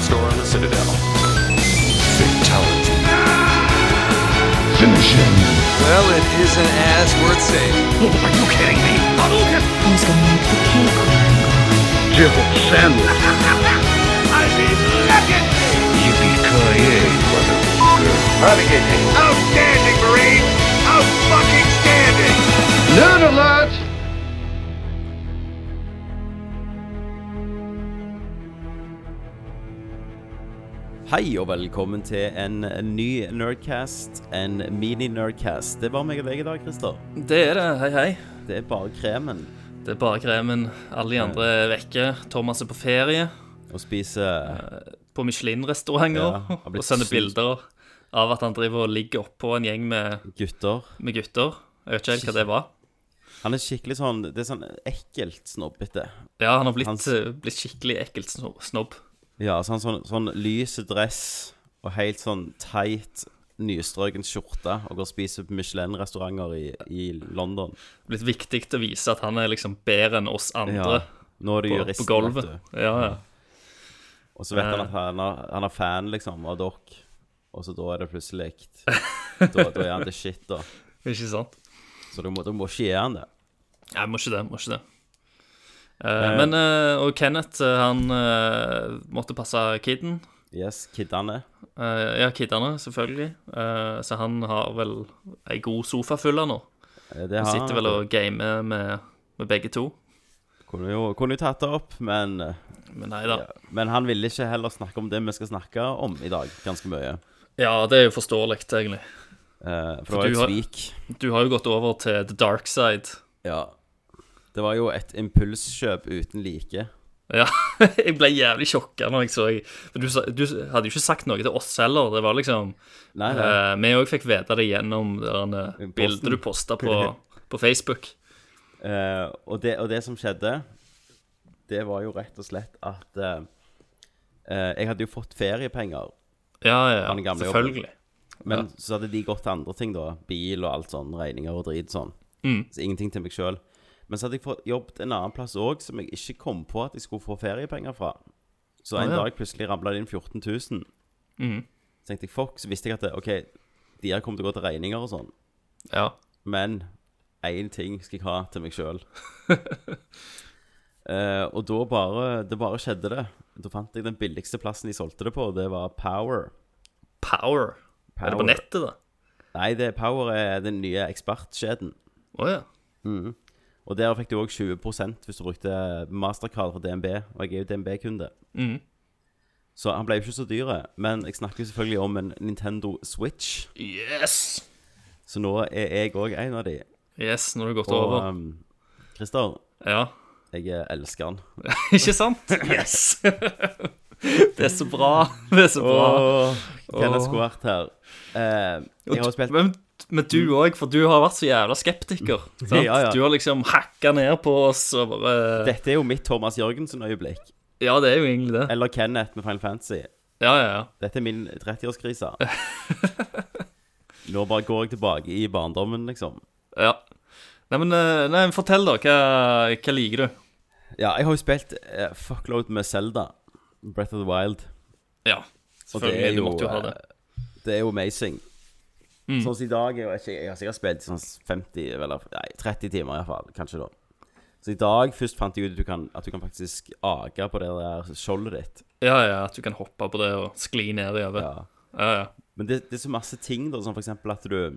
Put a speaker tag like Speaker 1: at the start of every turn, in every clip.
Speaker 1: store on the Citadel. Fatality.
Speaker 2: Finish him.
Speaker 3: Well, it isn't as worth saying.
Speaker 4: Who's gonna make the cake?
Speaker 2: Yippee-ki-yay, motherfucker.
Speaker 5: Outstanding, Marine! Out fucking standing!
Speaker 6: Hei og velkommen til en ny Nerdcast, en mini-Nerdcast. Det er bare meg og deg i dag, Christer.
Speaker 7: Det er det. Hei, hei.
Speaker 6: Det er bare kremen
Speaker 7: Det er bare kremen. Alle de andre er vekke. Thomas er på ferie
Speaker 6: å spise
Speaker 7: på Michelin-restauranter
Speaker 6: Ja, har blitt
Speaker 7: og sender
Speaker 6: sykt.
Speaker 7: bilder av at han driver og ligger oppå en gjeng med,
Speaker 6: gutter.
Speaker 7: med gutter. Jeg vet ikke helt hva det var.
Speaker 6: Han er skikkelig sånn Det er sånn ekkelt snobbete.
Speaker 7: Ja, han har blitt,
Speaker 6: Hans-
Speaker 7: eh, blitt skikkelig ekkelt sno- snobb.
Speaker 6: Ja, så han sånn, sånn lys dress og helt sånn teit nystrøken skjorte og går og spiser på Michelin-restauranter i, i London.
Speaker 7: Blitt viktig til å vise at han er liksom bedre enn oss andre
Speaker 6: Ja. Nå er det
Speaker 7: på,
Speaker 6: juristen,
Speaker 7: på gulvet.
Speaker 6: vet du.
Speaker 7: Ja, ja.
Speaker 6: Og så vet han at han er, han er fan, liksom, av dere. Og så da er det plutselig likt. Da, da er han det shit, da.
Speaker 7: Ikke sant?
Speaker 6: Så du må, du må ikke gjøre han det.
Speaker 7: Nei, må ikke det. Må ikke det. Eh, men eh, Og Kenneth, eh, han eh, måtte passe kiden.
Speaker 6: Yes, kiddene.
Speaker 7: Eh, ja, kiddene, selvfølgelig. Eh, så han har vel ei god sofa full av nå.
Speaker 6: Eh, Det
Speaker 7: Han
Speaker 6: har
Speaker 7: sitter vel og gamer med, med begge to.
Speaker 6: Kunne jo, kunne jo tatt det opp, men, eh,
Speaker 7: Men nei da.
Speaker 6: men han ville ikke heller snakke om det vi skal snakke om i dag, ganske mye.
Speaker 7: Ja, det er jo forståelig, egentlig.
Speaker 6: Eh, for,
Speaker 7: For
Speaker 6: det var
Speaker 7: du
Speaker 6: jo
Speaker 7: har-
Speaker 6: et svik.
Speaker 7: Du har jo gått over til the dark side.
Speaker 6: Ja. Det var jo et impulskjøp uten like.
Speaker 7: Ja, jeg ble jævlig sjokka når jeg så Men du, sa- du hadde jo ikke sagt noe til oss heller. Det var liksom
Speaker 6: Nei, nei.
Speaker 7: eh, Vi òg fikk vite det gjennom det der, eh,
Speaker 6: Posten.
Speaker 7: bildet du posta på, på Facebook.
Speaker 6: Eh, og, det, og det som skjedde, det var jo rett og slett at eh, eh, Jeg hadde jo fått feriepenger,
Speaker 7: Ja, ja,
Speaker 6: Han
Speaker 7: ja
Speaker 6: gamle jobben.
Speaker 7: selvfølgelig.
Speaker 6: men så hadde de gått til andre ting, da. Bil og alt sånn, regninger og drit sånn.
Speaker 7: Mm.
Speaker 6: Så ingenting til meg sjøl. Men så hadde jeg fått jobbet en annen plass òg som jeg ikke kom på at jeg skulle få feriepenger fra. Så en
Speaker 7: Ah, ja. Mm.
Speaker 6: dag plutselig ramla det inn 14 000. Så tenkte jeg fuck, så visste jeg at det, OK, de her kommer til å gå til regninger og sånn.
Speaker 7: Ja.
Speaker 6: Men én ting skal jeg ha til meg sjøl. og da bare Det bare skjedde, det. Da fant jeg den billigste plassen de solgte det på, og det var Power.
Speaker 7: Power. Er det
Speaker 6: Power.
Speaker 7: på nettet, da?
Speaker 6: Nei, det, Power er den nye ekspertkjeden.
Speaker 7: Å ja.
Speaker 6: Og der fikk du òg 20 hvis du brukte Mastercard fra DNB, og jeg er jo DNB-kunde. Så han ble jo ikke så dyr, men jeg snakker jo selvfølgelig om en Nintendo Switch.
Speaker 7: Yes!
Speaker 6: Så nå er jeg òg en av de.
Speaker 7: Yes, når du har gått
Speaker 6: Og
Speaker 7: over.
Speaker 6: um, Christer,
Speaker 7: Ja.
Speaker 6: jeg elsker han.
Speaker 7: Ikke sant? Yes! det er så bra. Det er så bra.
Speaker 6: Åh, Kenneth skulle vært her. Eh, jeg har jo spilt
Speaker 7: Men, men du òg, for du har vært så jævla skeptiker. Sant?
Speaker 6: Ja, ja.
Speaker 7: Du har liksom hakka ned på oss og bare
Speaker 6: Dette er jo mitt Thomas Jørgensen-øyeblikk.
Speaker 7: Ja, det er jo egentlig det.
Speaker 6: Eller Kenneth med Final Fantasy.
Speaker 7: Ja, ja, ja.
Speaker 6: Dette er min 30-årskrise. Nå bare går jeg tilbake i barndommen, liksom.
Speaker 7: ja. Nei, men, eh, nei, men fortell, da. Hva, hva liker du?
Speaker 6: Ja, jeg har jo spilt eh, fuckload med Zelda. Breath of the Wild.
Speaker 7: Ja, selvfølgelig. Du måtte jo ha det. Mm.
Speaker 6: eh, Det er jo amazing. Sånn som i dag jeg, vet ikke, jeg har sikkert spilt sånn 50, eller nei, 30 timer i hvert fall, kanskje da. Så i dag først fant jeg ut at du kan, at du kan faktisk age på det der skjoldet ditt.
Speaker 7: Ja, ja, at du kan hoppe på det og skli ned i over.
Speaker 6: Ja.
Speaker 7: Ja, ja.
Speaker 6: Men det, det er så masse ting da, som for eksempel at du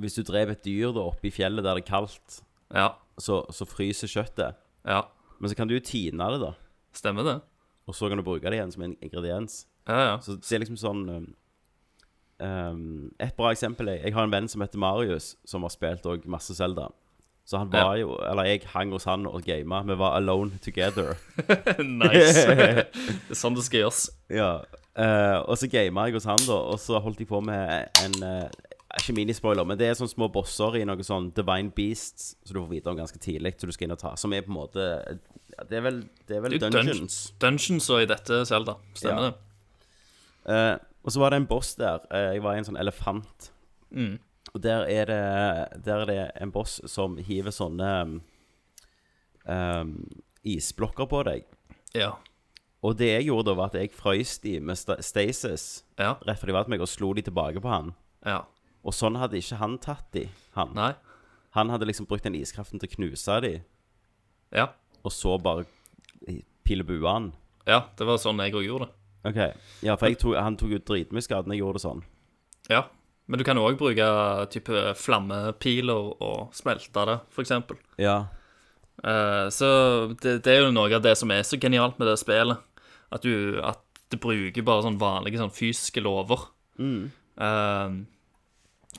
Speaker 6: Hvis du drev et dyr da oppe i fjellet der det er kaldt,
Speaker 7: ja,
Speaker 6: så, så fryser kjøttet.
Speaker 7: ja.
Speaker 6: Men så kan du jo tine det, da.
Speaker 7: Stemmer det.
Speaker 6: Og så kan du bruke det igjen som en ingrediens.
Speaker 7: Ja, ja.
Speaker 6: Så det er liksom sånn um, um, Et bra eksempel er Jeg har en venn som heter Marius, som har spilt òg masse Zelda. Så han var jo Eller jeg hang hos han og gama. Vi var alone together.
Speaker 7: Nice. det er sånn det skal gjøres.
Speaker 6: Ja. eh, og så gama jeg hos han, da, og så holdt jeg på med en eh, Ikke minispoiler, men det er sånne små bosser i noe sånn Divine Beasts som du får vite om ganske tidlig, så du skal inn og ta. Som er på en måte ja, Det er vel, det er vel
Speaker 7: Det er jo
Speaker 6: dungeons.
Speaker 7: Dungeons og i dette Zelda, stemmer
Speaker 6: Ja.
Speaker 7: det?
Speaker 6: Eh, og så var det en boss der. Eh, jeg var i en sånn elefant.
Speaker 7: Mm.
Speaker 6: Og der er, det, der er det en boss som hiver sånne um, um, isblokker på deg.
Speaker 7: Ja.
Speaker 6: Og det jeg gjorde da, var at jeg frøys de med sta- Stasis
Speaker 7: Ja.
Speaker 6: rett før de var til meg, og slo de tilbake på han.
Speaker 7: ja.
Speaker 6: Og sånn hadde ikke han tatt de, han.
Speaker 7: Nei.
Speaker 6: Han hadde liksom brukt den iskraften til å knuse de,
Speaker 7: Ja.
Speaker 6: og så bare eh, pille bua han.
Speaker 7: ja. Det var sånn jeg òg gjorde det.
Speaker 6: Ok, ja, for jeg tok, han tok jo dritmye skade når jeg gjorde det sånn.
Speaker 7: Ja. Men du kan òg bruke eh, type flammepiler og smelte det, f.eks.
Speaker 6: Ja,
Speaker 7: Eh, så det, det er jo noe av det som er så genialt med det spillet. At du at det bruker bare sånn vanlige sånn fysiske lover.
Speaker 6: Mm.
Speaker 7: Eh,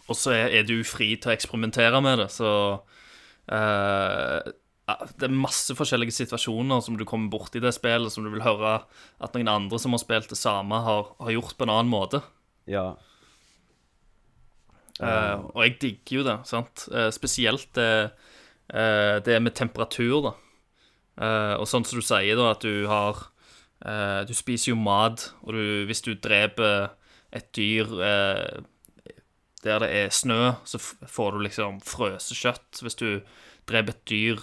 Speaker 7: og så er, er du fri til å eksperimentere med det, så eh, ja, Det er masse forskjellige situasjoner som du kommer borti i det spillet, som du vil høre at noen andre som har spilt det samme, har, har gjort på en annen måte.
Speaker 6: ja,
Speaker 7: Eh, og jeg digger jo det, sant? Eh, spesielt det, eh, det med temperatur, da. Eh, og sånn som du sier, da, at du har eh, Du spiser jo mat, og du, hvis du dreper et dyr eh, der det er snø, så f får du liksom frøsekjøtt. Hvis du dreper et dyr,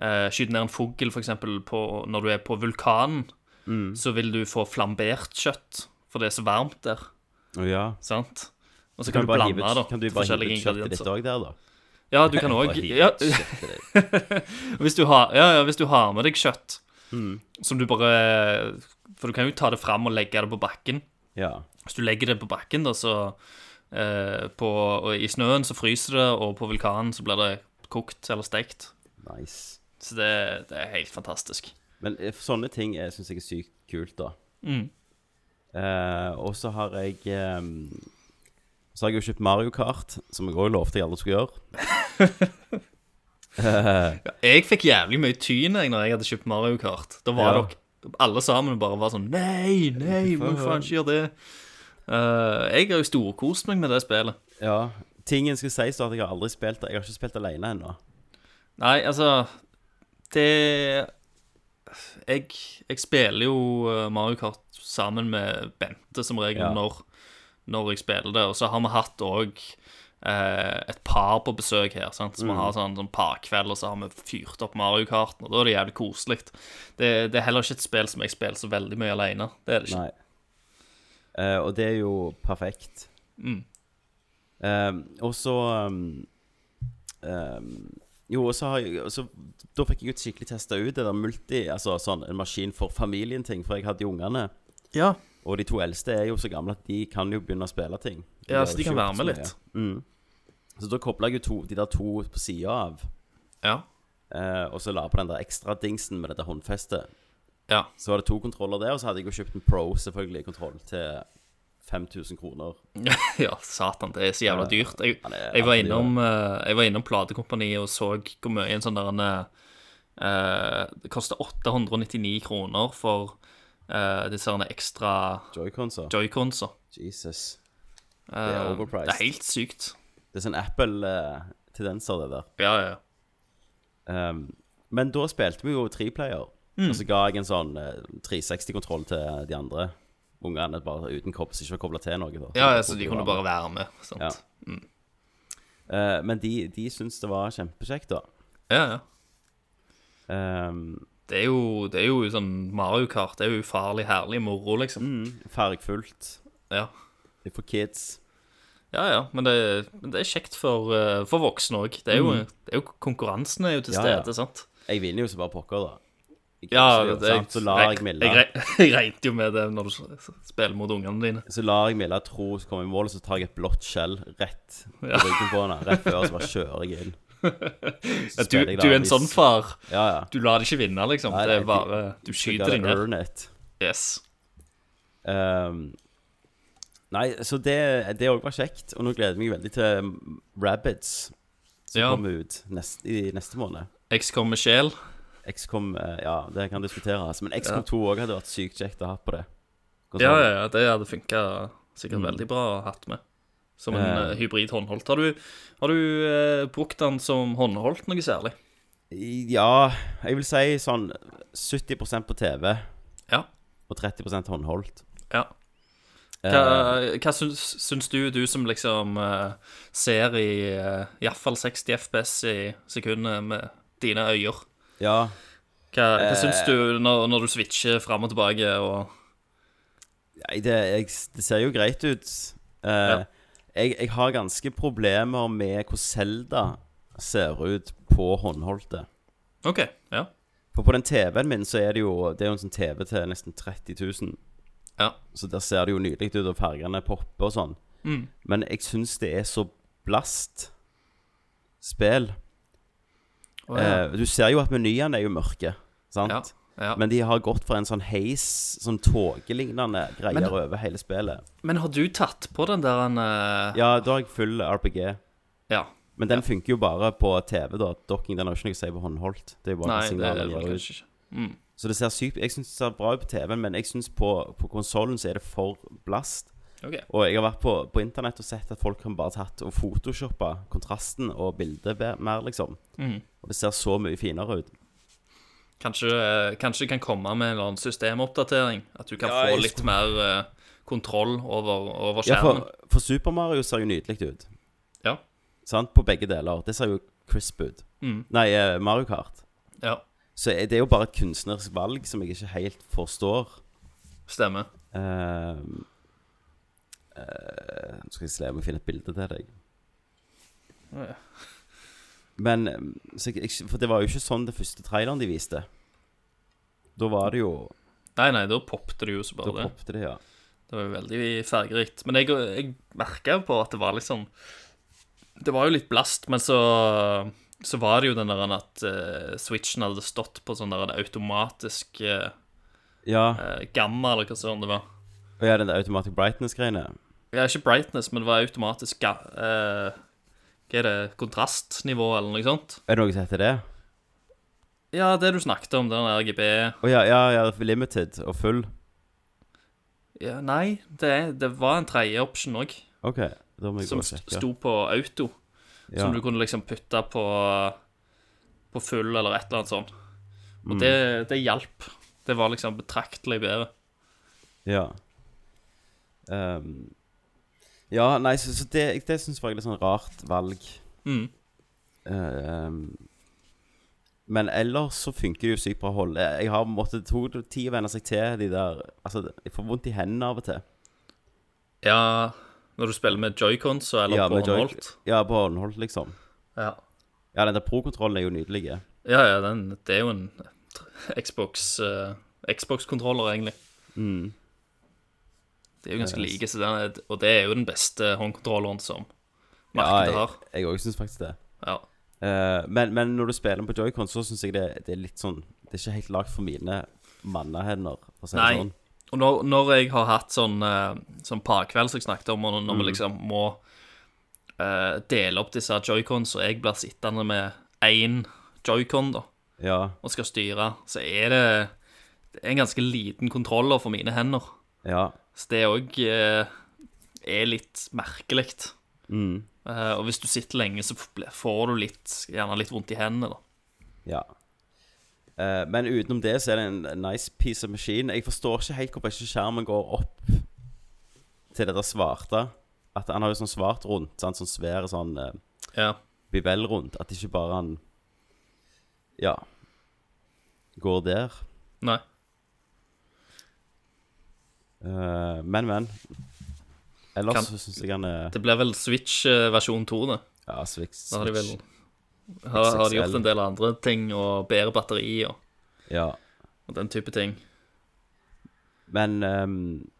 Speaker 7: eh, skyter ned en fugl, f.eks. når du er på vulkanen,
Speaker 6: Mm.
Speaker 7: så vil du få flambert kjøtt, for det er så varmt der.
Speaker 6: Å, ja.
Speaker 7: Sant? Og så
Speaker 6: Kan du
Speaker 7: kan, du
Speaker 6: bare
Speaker 7: blande
Speaker 6: hive ut,
Speaker 7: da,
Speaker 6: kan du bare
Speaker 7: til
Speaker 6: hive
Speaker 7: forskjellige
Speaker 6: ut kjøttet ditt
Speaker 7: ingredienser.
Speaker 6: òg der, da?
Speaker 7: Ja, du kan òg
Speaker 6: Bare hive
Speaker 7: ja,
Speaker 6: ut kjøttet ditt.
Speaker 7: hvis, du har- ja, ja, hvis du har med deg kjøtt
Speaker 6: Mm.
Speaker 7: som du bare For du kan jo ta det fram og legge det på bakken.
Speaker 6: Ja.
Speaker 7: Hvis du legger det på bakken, da, så eh, på, og I snøen så fryser det, og på vulkanen så blir det kokt eller stekt.
Speaker 6: Nice.
Speaker 7: Så det, det er helt fantastisk.
Speaker 6: Men eh, sånne ting syns jeg er sykt kult, da.
Speaker 7: Mm.
Speaker 6: Eh, og så har jeg eh, Så har jeg jo kjøpt Mario Kart, som jeg òg lovte jeg aldri skulle gjøre.
Speaker 7: Jeg fikk jævlig mye tyn jeg når jeg hadde kjøpt Mario Kart. Da var
Speaker 6: Ja.
Speaker 7: dere alle sammen bare var sånn Nei, nei, må
Speaker 6: Hvorfor?
Speaker 7: faen ikke gjøre det. Eh, jeg har jo storkost meg med det spillet.
Speaker 6: Ja. Tingen skal sies da at jeg har aldri spilt det. Jeg har ikke spilt alene ennå.
Speaker 7: Nei, altså Det Jeg, jeg spiller jo eh, Mario Kart sammen med Bente som regel
Speaker 6: Ja.
Speaker 7: når, når jeg spiller det. Og så har vi hatt òg eh, et par på besøk her. Sant?
Speaker 6: Mm.
Speaker 7: Så vi har sånn, sånn parkveld, og så har vi fyrt opp Mario Kart. Og da er det jævlig koselig. Det, det er heller ikke et spill som jeg spiller så veldig mye alene. Det er det ikke.
Speaker 6: Nei. Eh, og det er jo perfekt.
Speaker 7: Mm.
Speaker 6: Eh, og så um, um, Jo, og så har jeg og så, Da fikk jeg jo skikkelig testa ut det der multi, altså sånn en maskin for familien-ting, for jeg hadde jo ungene.
Speaker 7: Ja,
Speaker 6: Og de to eldste er jo så gamle at de kan jo begynne å spille ting.
Speaker 7: ja,
Speaker 6: har
Speaker 7: så
Speaker 6: jo
Speaker 7: de kan
Speaker 6: ikke
Speaker 7: være
Speaker 6: gjort
Speaker 7: med
Speaker 6: så
Speaker 7: litt.
Speaker 6: mye. Mm. Så da kobla jeg jo to, de der to på sida av,
Speaker 7: Ja.
Speaker 6: eh, og så la jeg på den der ekstra dingsen med dette håndfestet.
Speaker 7: ja.
Speaker 6: Så var det to kontroller der, og så hadde jeg jo kjøpt en Pro, selvfølgelig, kontroll til 5000 kroner.
Speaker 7: ja, satan, det er så jævla dyrt. Jeg,
Speaker 6: Ja, det er
Speaker 7: jeg, var,
Speaker 6: jævla dyrt.
Speaker 7: innom, eh, jeg var innom platekompaniet og så hvor mye en sånn der en eh, Det koster 899 kroner for eh, disse her ekstra
Speaker 6: Joy-Conser.
Speaker 7: joycons. da.
Speaker 6: Jesus. Det er
Speaker 7: Eh,
Speaker 6: overpriced.
Speaker 7: Det er helt sykt.
Speaker 6: Det er sånn Apple-tendenser, det der.
Speaker 7: Ja, ja.
Speaker 6: Um, men da spilte vi jo treplayer.
Speaker 7: Mm.
Speaker 6: Og så ga jeg en sånn eh, 360-kontroll til de andre ungene, bare uten kopp, så ikke var kobla til noe. Da.
Speaker 7: ja, ja så de kunne bare være med. Sant?
Speaker 6: Ja.
Speaker 7: Ja.
Speaker 6: Eh, Men de, de syntes det var kjempekjekt, da.
Speaker 7: ja,
Speaker 6: Um,
Speaker 7: Det er jo, det er jo sånn Mario Kart. Det er jo ufarlig herlig moro, liksom.
Speaker 6: Mm. fargfullt.
Speaker 7: Ja.
Speaker 6: Det er for kids.
Speaker 7: Ja, ja, men det, men det er kjekt for, eh, for voksne òg. Det, er jo- det er jo Konkurransen er jo til
Speaker 6: Mm. Ja, ja.
Speaker 7: stede, sant?
Speaker 6: Jeg vinner jo så bare pokker, da. Jeg
Speaker 7: Ja,
Speaker 6: kan ikke gjøre
Speaker 7: det,
Speaker 6: det, sant? så lar jeg Milla
Speaker 7: Jeg, re- jeg regnet jo med det når du s- spiller mot ungene dine.
Speaker 6: Så lar jeg Milla tro hun kommer i mål, og så tar jeg et blått skjell rett på
Speaker 7: Ja.
Speaker 6: ryggen på henne. Rett før, så bare kjører jeg inn. Så
Speaker 7: Du,
Speaker 6: spiller jeg
Speaker 7: du er
Speaker 6: da
Speaker 7: en sånn
Speaker 6: viss-
Speaker 7: far.
Speaker 6: Ja, ja.
Speaker 7: Du lar det ikke vinne, liksom.
Speaker 6: Nei,
Speaker 7: det
Speaker 6: nei,
Speaker 7: er bare Du
Speaker 6: Så skal
Speaker 7: skyter deg
Speaker 6: jeg
Speaker 7: ned.
Speaker 6: earn it.
Speaker 7: Yes.
Speaker 6: Ehm, nei, så det det òg var kjekt. Og nå gleder jeg meg veldig til um, Rabbits, som
Speaker 7: Ja.
Speaker 6: kommer ut nest, i neste måned.
Speaker 7: XCOM med sjel.
Speaker 6: XCOM eh, Ja, det kan diskuteres. Men XCOM 2 òg hadde vært sykt kjekt å ha på det.
Speaker 7: Ja, ja, ja, det hadde funka sikkert veldig bra å ha hatt med. Som en
Speaker 6: Mm. Ja.
Speaker 7: eh, hybrid håndholdt. Har du, har du eh, brukt den som håndholdt noe særlig?
Speaker 6: Ja, jeg vil si sånn 70 på TV
Speaker 7: Ja.
Speaker 6: og 30 håndholdt. Eh,
Speaker 7: ja. Hva, hva syns, syns du, du som liksom eh, ser i uh, iallfall 60 FPS i sekundet med dine øyer?
Speaker 6: Ja.
Speaker 7: Hva, hva syns du når, når du switcher fram og tilbake og
Speaker 6: Nei, det, jeg, det ser jo greit ut. Eh,
Speaker 7: Ja.
Speaker 6: jeg, jeg har ganske problemer med hvordan Zelda ser ut på håndholdte.
Speaker 7: OK, ja.
Speaker 6: For på den TV-en min så er det jo Det er jo en sånn TV til nesten 30 000.
Speaker 7: Ja.
Speaker 6: Så der ser det jo nydelig ut, og fargene popper og sånn.
Speaker 7: Mm.
Speaker 6: Men jeg syns det er så blast spill.
Speaker 7: Å, ja.
Speaker 6: Eh, du ser jo at menyene er jo mørke, sant?
Speaker 7: Ja, ja.
Speaker 6: Men de har gått for en sånn heis, sånn tågelignende greier
Speaker 7: Men-
Speaker 6: over hele spillet.
Speaker 7: Men har du tatt på den der en eh,
Speaker 6: Ja, da har jeg full RPG.
Speaker 7: ja.
Speaker 6: Men den funker jo bare på TV, da. Dokking den har jo ikke noe å si på håndholdt. Det er jo bare
Speaker 7: Nei,
Speaker 6: et
Speaker 7: det
Speaker 6: signal
Speaker 7: er
Speaker 6: den
Speaker 7: vel
Speaker 6: gir ut.
Speaker 7: kanskje ikke Mm,
Speaker 6: Så det ser sykt Jeg syns det ser bra ut på TV-en, men jeg syns på, på konsollen så er det for blast.
Speaker 7: OK.
Speaker 6: Og jeg har vært på, på internett og sett at folk har bare tatt og photoshoppa kontrasten og bildet be- mer, liksom. Og det ser så mye finere ut.
Speaker 7: Mm. Kanskje, eh, kanskje det kan komme med en eller annen systemoppdatering? At du kan
Speaker 6: Ja,
Speaker 7: få
Speaker 6: jeg-
Speaker 7: litt mer eh, kontroll over, over
Speaker 6: Ja,
Speaker 7: skjermen?
Speaker 6: for, for Super Mario ser jo nydelig ut.
Speaker 7: Ja.
Speaker 6: Sant? På begge deler. Det ser jo crisp ut.
Speaker 7: Mm.
Speaker 6: Nei, eh, Mario Kart.
Speaker 7: ja,
Speaker 6: Så det er jo bare et kunstnerisk valg som jeg ikke helt forstår.
Speaker 7: stemmer.
Speaker 6: Ehm, eh, Nå skal jeg se om jeg finner et bilde til deg.
Speaker 7: Ja.
Speaker 6: Men ehm, så jeg, jeg- For det var jo ikke sånn det første traileren de viste. Da var det jo
Speaker 7: Nei, nei, da poppet det jo så
Speaker 6: Da
Speaker 7: bare det.
Speaker 6: poppet det, ja.
Speaker 7: Det var jo veldig fargerikt. Men jeg, jeg merka jo på at det var litt sånn Det var jo litt blast, men så så var det jo den der at eh, switchen hadde stått på sånn der en automatisk eh,
Speaker 6: Ja,
Speaker 7: eh, gamma, eller hva sånn det var.
Speaker 6: og ja, den der automatic brightness-greiene.
Speaker 7: Ja, ikke brightness, men det var automatisk ga, eh, Hva er det? Kontrastnivå, eller noe sånt?
Speaker 6: Er det noe som heter det?
Speaker 7: Ja, det du snakket om, den RGB
Speaker 6: Å ja, ja, ja, limited og full.
Speaker 7: ja, Nei, det, det var en tredje option òg,
Speaker 6: OK, da må jeg gå
Speaker 7: som
Speaker 6: og
Speaker 7: st-
Speaker 6: sjekke.
Speaker 7: sto på auto.
Speaker 6: ja.
Speaker 7: Som du kunne liksom putte på På full eller et eller annet sånt. Og
Speaker 6: Mm.
Speaker 7: det, det hjalp. Det var liksom betraktelig bedre.
Speaker 6: Ja. Ehm, ja, nei, så, så det, det syns jeg var litt sånn rart valg.
Speaker 7: Mm.
Speaker 6: Ehm, men ellers så funker det jo sykt bra hold. Jeg jeg har måttet tok det tid å venne seg til de der Altså, jeg får vondt i hendene av og til.
Speaker 7: Ja, når du spiller med joycons eller
Speaker 6: Ja,
Speaker 7: på
Speaker 6: med joy-
Speaker 7: håndholdt.
Speaker 6: Ja, på håndholdt, liksom.
Speaker 7: Ja.
Speaker 6: Ja, den der pro-kontrollen er jo nydelig.
Speaker 7: ja, ja, den Det er jo en Xbox eh, Xbox-kontroller, egentlig.
Speaker 6: Mm.
Speaker 7: Det er jo ganske like, så den er, og det er jo den beste håndkontrolleren som markedet
Speaker 6: Ja,
Speaker 7: har.
Speaker 6: jeg òg syns faktisk det.
Speaker 7: Ja.
Speaker 6: Eh, men, men når du spiller den på joycon, så syns jeg det, det er litt sånn Det er ikke helt lagd for mine mannehender, for å si det
Speaker 7: Nei.
Speaker 6: sånn.
Speaker 7: Og når, når jeg har hatt sånn, eh, sånn parkveld som jeg snakket om, og når vi liksom må eh, dele opp disse joycons, og jeg blir sittende med én joycon da,
Speaker 6: Ja,
Speaker 7: og skal styre, så er det, det er en ganske liten kontroller for mine hender.
Speaker 6: ja.
Speaker 7: Så det òg er litt merkelig. Eh, og hvis du sitter lenge, så f- får du litt, gjerne litt vondt i hendene. da.
Speaker 6: Ja. Eh, men utenom det så er det en en nice piece of machine. Jeg forstår ikke helt hvorfor ikke skjermen går opp til det der svarte. At han har jo sånn svart rundt, sant? sånn svær sånn uh,
Speaker 7: Ja.
Speaker 6: bivell rundt. At ikke bare han Ja. Går der.
Speaker 7: Nei.
Speaker 6: Eh, men, men. Ellers
Speaker 7: Kan-
Speaker 6: så syns jeg han er
Speaker 7: Det blir vel Switch eh, versjon 2, det.
Speaker 6: Ja, Swix.
Speaker 7: Da har de vel
Speaker 6: Swix.
Speaker 7: har, har de gjort
Speaker 6: 6L.
Speaker 7: en del andre ting, og bedre batteri og,
Speaker 6: Ja.
Speaker 7: og den type ting.
Speaker 6: Men, ehm,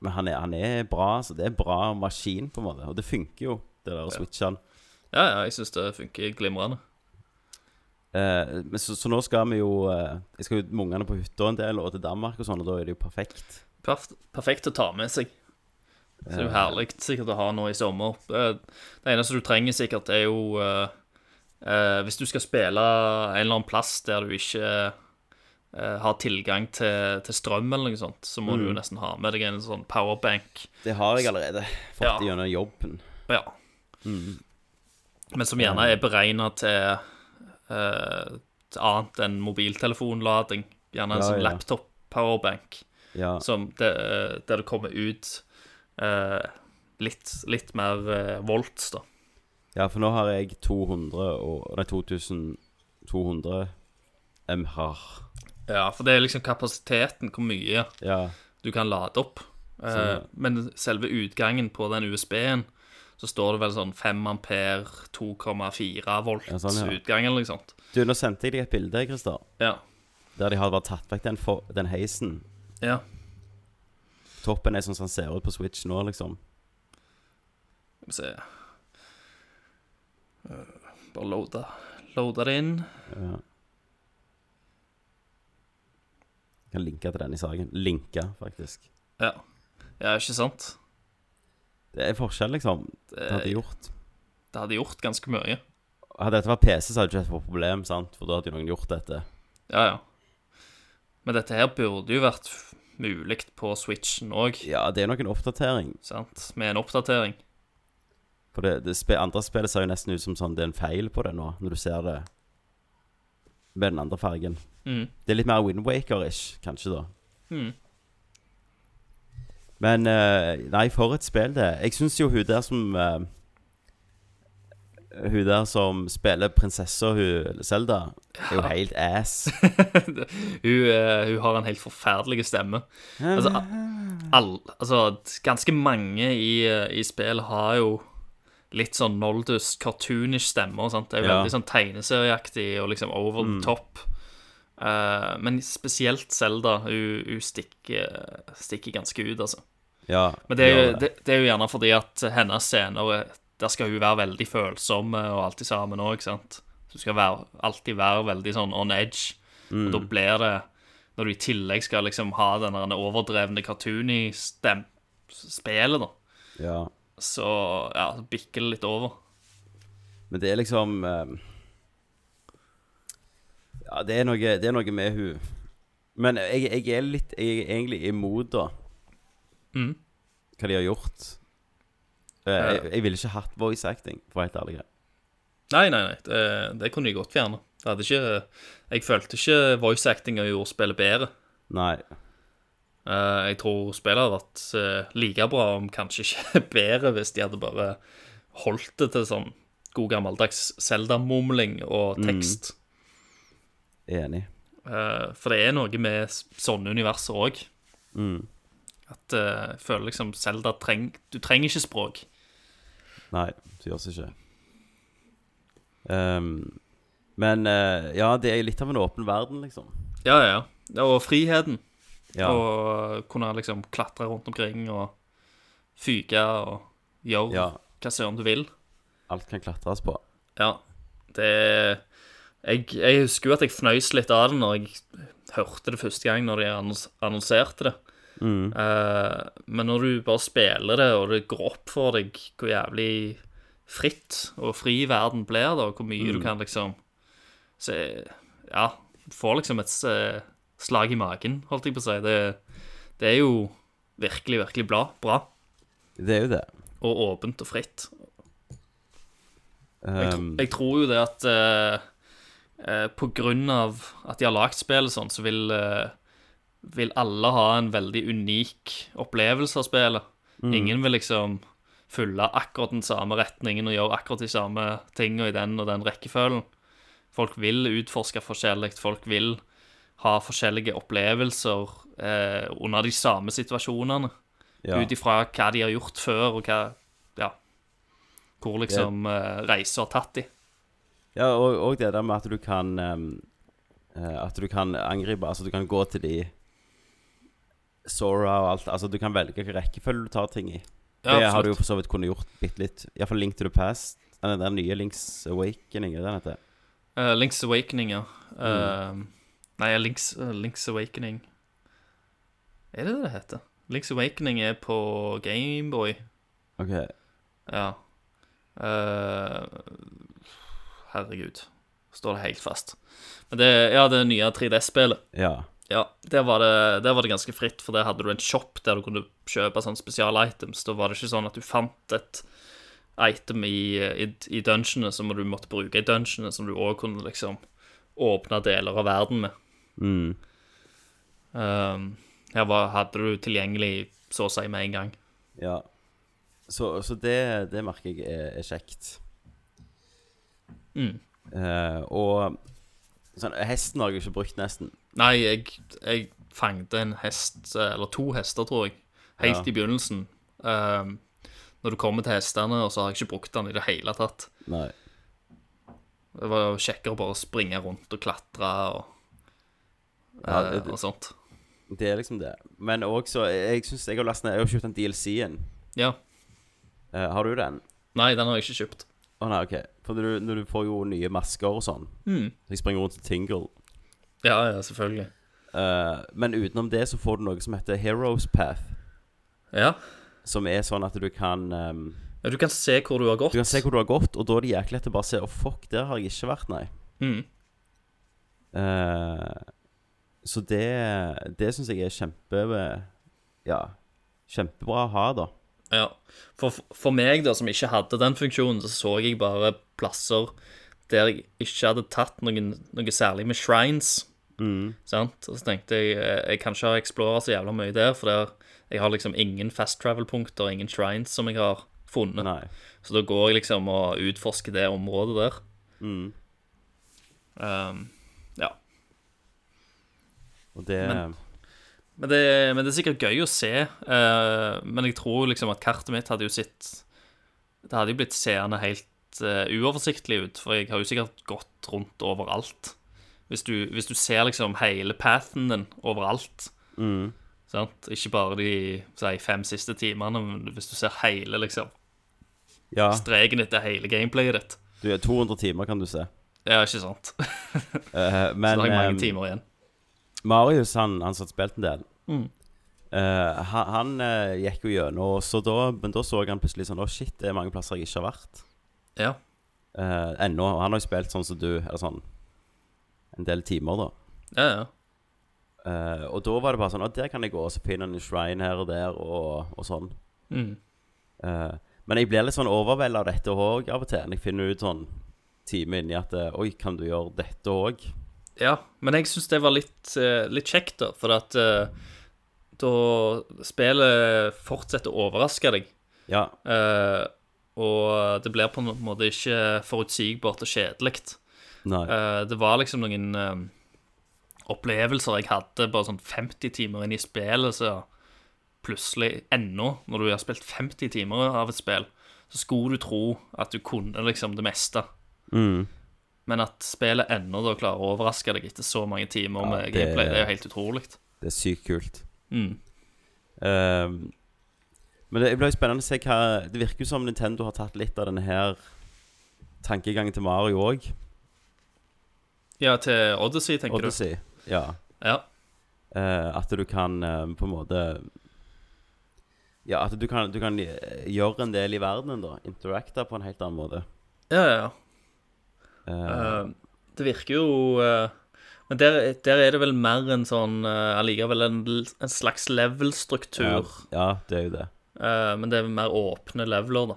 Speaker 6: men han, er, han er bra. Så det er en bra maskin, på en måte. Og det funker jo, det der å switche han.
Speaker 7: Ja, ja, jeg syns det funker glimrende.
Speaker 6: Eh, men så, så nå skal vi jo eh, Jeg skal jo med ungene på hytta en del, og til Danmark og sånn, og da er det jo perfekt.
Speaker 7: Perf perfekt å ta med seg. Så det er jo herlig sikkert å ha nå i sommer. Eh, Det eneste du trenger sikkert, er jo eh, eh, Hvis du skal spille en eller annen plass der du ikke eh, har tilgang til, til strøm eller noe sånt, så må du jo nesten ha med deg en sånn powerbank.
Speaker 6: Det har jeg allerede fått
Speaker 7: Ja.
Speaker 6: gjennom jobben.
Speaker 7: Ja.
Speaker 6: Mm.
Speaker 7: Men som gjerne er beregna til eh, til annet enn mobiltelefonlading. Gjerne en
Speaker 6: Ja,
Speaker 7: sånn
Speaker 6: ja.
Speaker 7: laptop-powerbank
Speaker 6: Ja.
Speaker 7: som det, eh, der det kommer ut eh, litt, litt mer eh, volts, da.
Speaker 6: ja, for nå har jeg 200 og Nei, 2200 Emhar.
Speaker 7: Ja, for det er liksom kapasiteten, hvor mye
Speaker 6: Ja.
Speaker 7: du kan lade opp. Eh,
Speaker 6: Sånn, ja.
Speaker 7: Men selve utgangen på den USB-en, så står det vel sånn 5 ampere, 2,4 volt
Speaker 6: Ja, sånn, ja.
Speaker 7: utgang eller noe sånt.
Speaker 6: Du, nå sendte jeg deg et bilde, Christer,
Speaker 7: Ja.
Speaker 6: der de har bare tatt vekk den, for, den heisen.
Speaker 7: ja.
Speaker 6: Toppen er sånn som den ser ut på Switch nå, liksom.
Speaker 7: Skal vi se Eh, Bare loada Loada det inn.
Speaker 6: Ja. Kan linke til den i saken. Linke, faktisk.
Speaker 7: Ja. ja, ikke sant?
Speaker 6: Det er forskjell, liksom. Det hadde
Speaker 7: Eh,
Speaker 6: gjort.
Speaker 7: Det hadde gjort ganske mye.
Speaker 6: Hadde dette vært PC, så hadde det ikke vært et problem, sant? For da hadde jo noen gjort dette.
Speaker 7: Ja, ja. Men dette her burde jo vært f- mulig på Switchen òg,
Speaker 6: Ja, det er nok en oppdatering.
Speaker 7: sant? Med en oppdatering.
Speaker 6: For det, det spe, andre spillet ser jo nesten ut som sånn det er en feil på det nå, når du ser det med den andre fargen.
Speaker 7: Mhm.
Speaker 6: Det er litt mer Windwaker-ish, kanskje, da.
Speaker 7: Mhm.
Speaker 6: Men eh, Nei, for et spill, det. Jeg syns jo hun der som eh, Hun der som spiller prinsessa, hun Selda, er jo helt ass.
Speaker 7: Hun, eh, hun har en helt forferdelig stemme. Altså, a- all, altså ganske mange i, eh, i spill har jo litt sånn Noldus, cartoonish stemmer. Sant? Det er jo
Speaker 6: Ja.
Speaker 7: veldig sånn tegneserieaktig og liksom over the top. Eh, men spesielt Selda. Hun, hun stikker, stikker ganske ut, altså.
Speaker 6: Ja,
Speaker 7: Men det er, jo,
Speaker 6: ja,
Speaker 7: det, det er jo gjerne fordi at hennes scener eh, Der skal hun være veldig følsom eh, og alt sammen òg, ikke sant? Så hun skal være, alltid være veldig sånn on edge. Og da blir det Når du i tillegg skal liksom ha den der overdrevne cartoony stem spelet, da,
Speaker 6: ja.
Speaker 7: så ja, så bikker det litt over.
Speaker 6: Men det er liksom eh, Ja, det er noe, det er noe med hun Men jeg, jeg er litt Jeg er egentlig imot, da.
Speaker 7: Mhm.
Speaker 6: Hva de har gjort. Eh, Jeg, jeg ville ikke hatt voice acting, for å være helt ærlig.
Speaker 7: Nei, nei, nei, det, det kunne de godt fjerne. Det hadde ikke, jeg følte ikke voice actinga gjorde spillet bedre.
Speaker 6: Nei.
Speaker 7: Eh, jeg tror spillet hadde vært eh, like bra, om kanskje ikke bedre, hvis de hadde bare holdt det til sånn god gammeldags Zelda-mumling og tekst.
Speaker 6: Enig.
Speaker 7: Eh, for det er noe med s- sånne universer òg.
Speaker 6: Mm.
Speaker 7: At eh, jeg føler liksom Zelda treng, Du trenger ikke språk.
Speaker 6: Nei, det gjør seg ikke. Ehm, men eh, ja, det er litt av en åpen verden, liksom.
Speaker 7: Ja, ja, ja. Og friheten.
Speaker 6: Ja.
Speaker 7: Og kunne liksom klatre rundt omkring og fyke og gjøre
Speaker 6: ja.
Speaker 7: hva søren du vil.
Speaker 6: Alt kan klatres på.
Speaker 7: Ja, det jeg, jeg husker jo at jeg fnøys litt av det når jeg hørte det første gang, når de annons, annonserte det. Eh, men når du bare spiller det, og det går opp for deg hvor jævlig fritt og fri verden blir, da, og hvor mye du kan liksom Så ja, du får liksom et eh, slag i magen, holdt jeg på å si. Det, det er jo virkelig, virkelig bra. bra
Speaker 6: Det er jo det.
Speaker 7: og åpent og fritt. Jeg, tr-
Speaker 6: Ehm,
Speaker 7: jeg tror jo det at eh, eh, på grunn av at de har lagd spillet sånn, så vil, eh, vil alle ha en veldig unik opplevelse av spillet. Ingen vil liksom følge akkurat den samme retningen og gjøre akkurat de samme tingene i den og den rekkefølgen. Folk vil utforske forskjellig, folk vil ha forskjellige opplevelser eh, under de samme situasjonene
Speaker 6: ja.
Speaker 7: ut ifra hva de har gjort før, og hva Ja. Hvor liksom eh, reiser har tatt de.
Speaker 6: Ja, og, og det der med at du kan ehm, eh, At du kan angripe Altså, du kan gå til de Sora og alt Altså, du kan velge hvilken rekkefølge du tar ting i.
Speaker 7: Ja,
Speaker 6: det har du jo
Speaker 7: absolutt.
Speaker 6: for så vidt kunnet gjort bitte litt. Iallfall Link to the Past. Den der nye Links Awakening, er det den heter?
Speaker 7: Eh, Links Awakening, ja.
Speaker 6: Mm.
Speaker 7: Eh, nei, Links, eh, Links Awakening Er det det det heter? Links Awakening er på Gameboy.
Speaker 6: OK.
Speaker 7: Ja. Eh, herregud. Står det helt fast. Men det, ja, det nye 3DS-spillet.
Speaker 6: Ja.
Speaker 7: Ja, der var, det, der var det ganske fritt, for der hadde du en shop der du kunne kjøpe sånne spesialitems. Da var det ikke sånn at du fant et item i, i, i dungeonene som du måtte bruke i dungeonene, som du òg kunne liksom åpne deler av verden med.
Speaker 6: Mm.
Speaker 7: Um, her var, hadde du tilgjengelig så å si med en gang.
Speaker 6: Ja. Så, så det, det merker jeg er, er kjekt.
Speaker 7: Mm.
Speaker 6: Eh, og sånn, Hesten har jeg jo ikke brukt nesten.
Speaker 7: Nei, jeg, jeg fanget en hest, eh, eller to hester, tror jeg, helt
Speaker 6: Ja.
Speaker 7: i begynnelsen. Ehm, når du kommer til hestene, og så har jeg ikke brukt den i det hele tatt.
Speaker 6: Nei.
Speaker 7: Det var jo kjekkere å bare springe rundt og klatre og,
Speaker 6: Ja,
Speaker 7: eh,
Speaker 6: det-
Speaker 7: og sånt.
Speaker 6: Det er liksom det. Men også, jeg syns jeg har lastet ned Jeg har kjøpt den DLC-en.
Speaker 7: Ja.
Speaker 6: Eh, har du den?
Speaker 7: Nei, den har jeg ikke kjøpt.
Speaker 6: Å nei, OK. For du, når du får jo nye masker og sånn. Så jeg springer rundt som Tingle.
Speaker 7: Ja, ja, selvfølgelig.
Speaker 6: Eh, men utenom det så får du noe som heter Heroes Path.
Speaker 7: Ja.
Speaker 6: Som er sånn at du kan ehm,
Speaker 7: Ja, Du kan se hvor du har gått.
Speaker 6: Du kan se hvor du har gått, og da er det jæklig lett å bare se Å, fuck, der har jeg ikke vært, nei.
Speaker 7: Mm.
Speaker 6: Eh, så det Det syns jeg er kjempe Ja, kjempebra å ha, da.
Speaker 7: Ja. For, for meg, da, som ikke hadde den funksjonen, så så jeg bare plasser der jeg ikke hadde tatt noen, noe særlig med shrines. Mm. Sant? Og så tenkte jeg eh, jeg kan ikke ha Explorer så jævla mye der, for der, jeg har liksom ingen fast travel-punkter, ingen shrines som jeg har funnet.
Speaker 6: Nei.
Speaker 7: Så da går jeg liksom og utforsker det området der.
Speaker 6: Mm.
Speaker 7: Um, ja.
Speaker 6: Og det
Speaker 7: Men det, men det er sikkert gøy å se. eh, men jeg tror liksom at kartet mitt hadde jo sett Det hadde jo blitt seende helt eh, uoversiktlig ut, for jeg har jo sikkert gått rundt overalt. Hvis du, hvis du ser liksom hele pathen din overalt.
Speaker 6: mm.
Speaker 7: Sant? Ikke bare de si, fem siste timene, men hvis du ser hele liksom
Speaker 6: Ja,
Speaker 7: streken etter hele gameplayet ditt.
Speaker 6: du er 200 timer, kan du se.
Speaker 7: Ja, ikke sant?
Speaker 6: Eh,
Speaker 7: Så
Speaker 6: men
Speaker 7: da har jeg
Speaker 6: ehm,
Speaker 7: mange timer igjen. Mm.
Speaker 6: Marius, han, han satt spilt en del. Eh, han han eh, gikk jo gjennom, så da, men da så han plutselig sånn Å, shit, det er mange plasser jeg ikke har vært.
Speaker 7: Ja.
Speaker 6: Eh, ennå. Og han har jo spilt sånn som du, eller sånn en del timer, da.
Speaker 7: Ja, ja.
Speaker 6: Eh, og da var det bare sånn Å, der kan jeg gå, og så finner han en shrine her og der, og, og sånn.
Speaker 7: Mm.
Speaker 6: Eh, men jeg blir litt sånn overvelda av dette òg av og til. Når jeg finner ut sånn time inni at eh, Oi, kan du gjøre dette òg?
Speaker 7: Ja, men jeg syns det var litt, eh, litt kjekt, da. For at eh, da spillet fortsetter å overraske deg.
Speaker 6: Ja.
Speaker 7: eh, og det blir på en måte ikke forutsigbart og kjedelig.
Speaker 6: Nei.
Speaker 7: Eh, det var liksom noen eh, opplevelser jeg hadde bare sånn 50 timer inn i spillet, så plutselig ennå, når du har spilt 50 timer av et spill, så skulle du tro at du kunne liksom det meste.
Speaker 6: Mm,
Speaker 7: Men at spillet ennå da klarer å overraske deg etter så mange timer
Speaker 6: Ja,
Speaker 7: med
Speaker 6: det-
Speaker 7: gameplay, det er jo helt utrolig.
Speaker 6: Det er sykt kult.
Speaker 7: Mm.
Speaker 6: Ehm, men det blir jo spennende å se hva Det virker jo som Nintendo har tatt litt av denne her tankegangen til Mario òg.
Speaker 7: Ja, til Odyssey, tenker
Speaker 6: Odyssey. Ja.
Speaker 7: du. Ja.
Speaker 6: Eh, at du kan eh, på en måte Ja, at du kan, du kan eh, gjøre en del i verdenen, da. Interacte på en helt annen måte.
Speaker 7: Ja, ja, ja.
Speaker 6: Eh,
Speaker 7: Eh, det virker jo eh, Men der, der er det vel mer en sånn eh, Allikevel en, en slags
Speaker 6: ja,
Speaker 7: level-struktur.
Speaker 6: ja, det er jo det.
Speaker 7: Eh, men det er mer åpne leveler, da.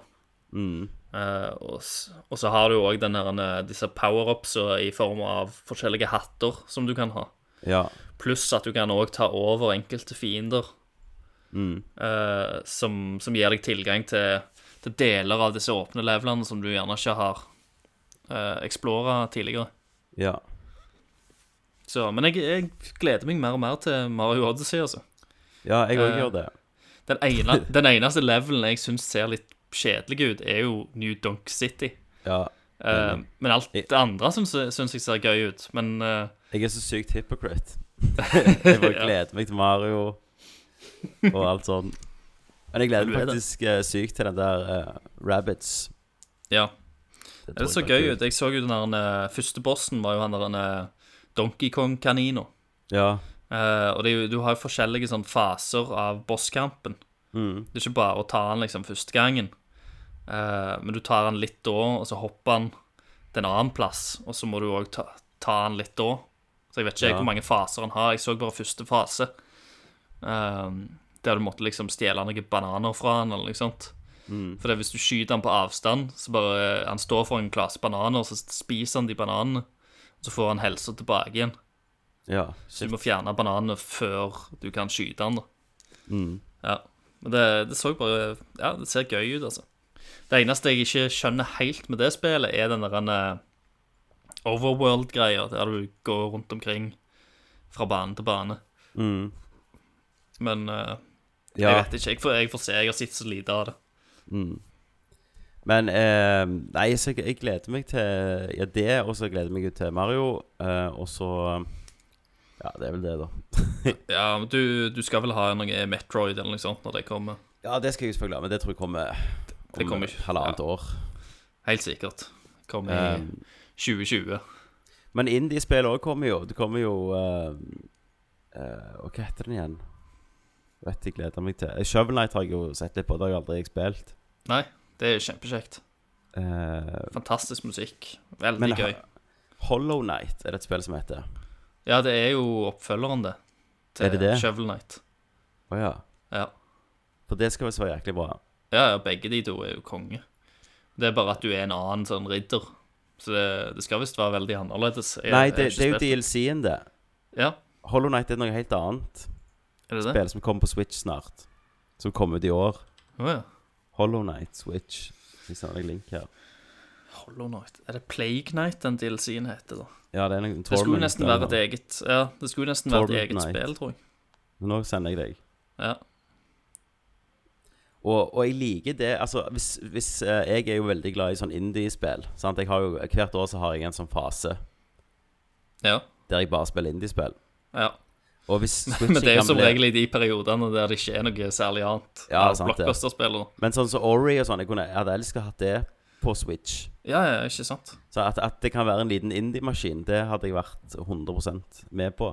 Speaker 6: Mm.
Speaker 7: Eh, og, s- og så har du jo òg den her, eh, disse power-upsa i form av forskjellige hatter som du kan ha.
Speaker 6: Ja.
Speaker 7: Pluss at du kan òg ta over enkelte fiender.
Speaker 6: Mm.
Speaker 7: eh, som, som gir deg tilgang til, til deler av disse åpne levelene som du gjerne ikke har uh, explora tidligere.
Speaker 6: Ja.
Speaker 7: Så, men jeg, jeg gleder meg mer og mer til Mario Odyssey, altså.
Speaker 6: ja jeg òg
Speaker 7: Eh,
Speaker 6: gjør det.
Speaker 7: Den, ene, den eneste levelen jeg syns ser litt kjedelig ut, er jo New Donk City.
Speaker 6: Ja.
Speaker 7: Eh, men alt
Speaker 6: Jeg-
Speaker 7: det andre syns syns jeg ser gøy ut. Men eh,
Speaker 6: Jeg er så sykt hypocrite. jeg bare
Speaker 7: Ja.
Speaker 6: gleder meg til Mario og alt sånn. Men jeg gleder
Speaker 7: Du er
Speaker 6: meg
Speaker 7: det.
Speaker 6: faktisk eh, sykt til den der eh, Rabbits.
Speaker 7: ja. Det
Speaker 6: tror
Speaker 7: så
Speaker 6: jeg blir
Speaker 7: gøy
Speaker 6: kult.
Speaker 7: ut. Jeg så jo den der eh, første bossen var jo han der eh, Donkey Kong-kanina.
Speaker 6: Ja.
Speaker 7: Eh, og det, er jo- du har jo forskjellige sånn faser av bosskampen.
Speaker 6: Mm.
Speaker 7: Det er ikke bare å ta han liksom første gangen. Eh, men du tar han litt da, og så hopper han til en annen plass. Og så må du òg ta, ta han litt da. Så jeg vet ikke
Speaker 6: Ja.
Speaker 7: hvor mange faser han har. Jeg så bare første fase. Eh, der du måtte liksom stjele noen bananer fra han, eller noe sånt. For det, er hvis du skyter han på avstand, så bare eh, Han står for en klase bananer, og så spiser han de bananene. Og så får han helsa tilbake igjen.
Speaker 6: ja.
Speaker 7: Så du må fjerne bananene før du kan skyte den. da.
Speaker 6: Mm.
Speaker 7: Ja. Men det, det så bare Ja, det ser gøy ut, altså. Det eneste jeg ikke skjønner helt med det spillet, er den der overworld-greier, der du går rundt omkring fra bane til bane. Men eh, jeg
Speaker 6: Mm. Ja,
Speaker 7: vet ikke. Jeg får, jeg får se. Jeg har sett så lite av det.
Speaker 6: Mm. men eh, Nei, så jeg, jeg gleder meg til Ja, det, og så gleder jeg meg jo til Mario, eh, og så Ja, det er vel det, da.
Speaker 7: Ja, men du, du skal vel ha noe Metroid eller noe sånt når det kommer.
Speaker 6: Ja, det skal jeg selvfølgelig ha, men det tror jeg kommer
Speaker 7: Det
Speaker 6: om
Speaker 7: kommer-
Speaker 6: halvannet
Speaker 7: ja.
Speaker 6: år.
Speaker 7: Helt sikkert. Kommer i
Speaker 6: Eh,
Speaker 7: 2020.
Speaker 6: men indie-spill òg kommer jo. Det kommer jo eh, eh, Og hva heter den igjen? Vet jeg gleder meg til. Shovel Knight har jeg jo sett litt på, det har jeg aldri spilt.
Speaker 7: Nei, det er jo kjempekjekt.
Speaker 6: Eh,
Speaker 7: Fantastisk musikk. Veldig
Speaker 6: Men
Speaker 7: gøy.
Speaker 6: ha- Hollow Knight er det et spill som heter.
Speaker 7: Ja, det er jo oppfølgeren, det. Til
Speaker 6: Er det det?
Speaker 7: Shovel Knight.
Speaker 6: Å ja.
Speaker 7: Ja.
Speaker 6: For det skal visst være jæklig bra.
Speaker 7: Ja, ja, begge de to er jo konge. Det er bare at du er en annen sånn ridder. Så det, det skal visst være veldig annerledes. Jeg-
Speaker 6: Nei,
Speaker 7: jeg har
Speaker 6: det,
Speaker 7: ikke
Speaker 6: det er jo
Speaker 7: spilt
Speaker 6: DLC-en, det.
Speaker 7: Ja,
Speaker 6: Hollow Knight er noe helt annet.
Speaker 7: er det det?
Speaker 6: Spill som kommer på Switch snart. Som kom ut i år.
Speaker 7: Å ja.
Speaker 6: Hollow Knight Switch. Vi sender deg link her.
Speaker 7: Hollow Knight. Er det Plague Knight den DLC-en heter, da?
Speaker 6: Ja, det er noen
Speaker 7: Det skulle
Speaker 6: Torment,
Speaker 7: nesten
Speaker 6: eller
Speaker 7: være
Speaker 6: noe.
Speaker 7: et eget Ja, det skulle nesten være et
Speaker 6: Torment
Speaker 7: eget
Speaker 6: Knight.
Speaker 7: spill, tror jeg.
Speaker 6: Men nå sender jeg deg.
Speaker 7: Ja.
Speaker 6: Og, og jeg liker det Altså, hvis, hvis eh, Jeg er jo veldig glad i sånn indie-spill. Sant? Jeg har jo, hvert år så har jeg en sånn fase
Speaker 7: ja.
Speaker 6: der jeg bare spiller indie-spill.
Speaker 7: ja.
Speaker 6: Og hvis Switchen
Speaker 7: Men det er jo
Speaker 6: kan
Speaker 7: som
Speaker 6: bli-
Speaker 7: regel i de periodene der det ikke er noe særlig annet.
Speaker 6: Ja,
Speaker 7: av
Speaker 6: sant det.
Speaker 7: Blockbuster-spillet. da.
Speaker 6: Men sånn som Ori og sånn Jeg kunne, jeg hadde elsket å hatt det på Switch.
Speaker 7: Ja, ja, ikke sant?
Speaker 6: Så at, at det kan være en liten indie-maskin, det hadde jeg vært 100 med på.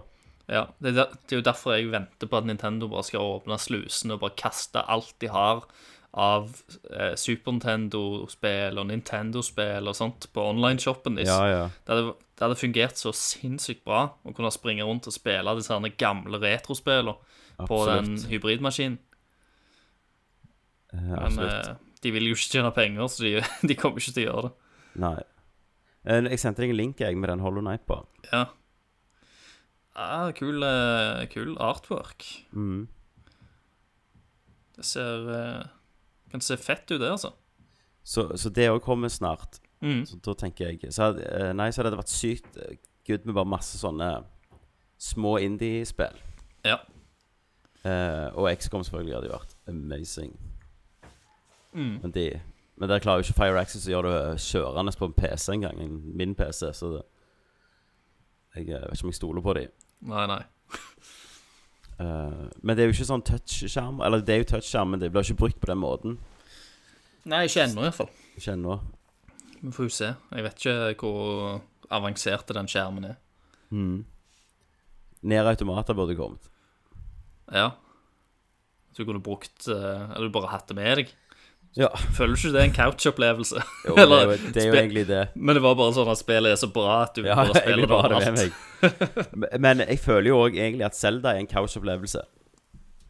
Speaker 7: Ja, det er, der, det er jo derfor jeg venter på at Nintendo bare skal åpne slusene og bare kaste alt de har av eh, Super Nintendo-spill og Nintendo-spill og sånt på online-shoppen deres.
Speaker 6: ja.
Speaker 7: Det, hadde, det hadde fungert så sinnssykt bra å kunne springe rundt og spille disse herne gamle retrospillene på den
Speaker 6: Absolutt.
Speaker 7: hybridmaskinen.
Speaker 6: Eh,
Speaker 7: Men
Speaker 6: absolutt.
Speaker 7: eh, de vil jo ikke tjene penger, så de, de kommer ikke til å gjøre det.
Speaker 6: Nei. Eh, Jeg sendte deg en link jeg med den Hollow Knight på.
Speaker 7: Ja. Ah, kul, eh, kul artwork.
Speaker 6: Mm.
Speaker 7: Det ser eh, Kan se fett ut, det, altså.
Speaker 6: Så, så det òg kommer snart.
Speaker 7: Mm.
Speaker 6: Så da tenker jeg så hadde, eh, Nei, så hadde det vært sykt eh, good med bare masse sånne små indie-spill.
Speaker 7: Ja.
Speaker 6: Eh, og XCOM selvfølgelig hadde jo vært amazing.
Speaker 7: Mm.
Speaker 6: Men, de, men der klarer jo ikke Fire Access å gjøre det kjørende på en PC engang. en- Min PC, så det, jeg eh, vet ikke om jeg stoler på de.
Speaker 7: Nei, nei.
Speaker 6: Eh, men det er jo ikke sånn touchskjerm. Eller det er jo touchskjerm, men det blir ikke brukt på den måten.
Speaker 7: Nei, ikke ennå iallfall.
Speaker 6: Ikke ennå.
Speaker 7: Vi får jo se. Jeg vet ikke hvor avansert den skjermen er.
Speaker 6: Nede Mm. automater burde kommet.
Speaker 7: Ja. Så du kunne brukt eh, Eller du bare hatt det med deg.
Speaker 6: Ja.
Speaker 7: Føler ikke det er en couch-opplevelse?
Speaker 6: Jo, det, er
Speaker 7: Eller-
Speaker 6: jo, det er jo
Speaker 7: spe-
Speaker 6: egentlig det.
Speaker 7: Men det var bare sånn at spillet er så bra at du
Speaker 6: Ja,
Speaker 7: bare
Speaker 6: jeg
Speaker 7: spiller
Speaker 6: vil
Speaker 7: det
Speaker 6: bare ha det
Speaker 7: overalt.
Speaker 6: med meg. Men- Men jeg føler jo òg egentlig at Zelda er en couch-opplevelse.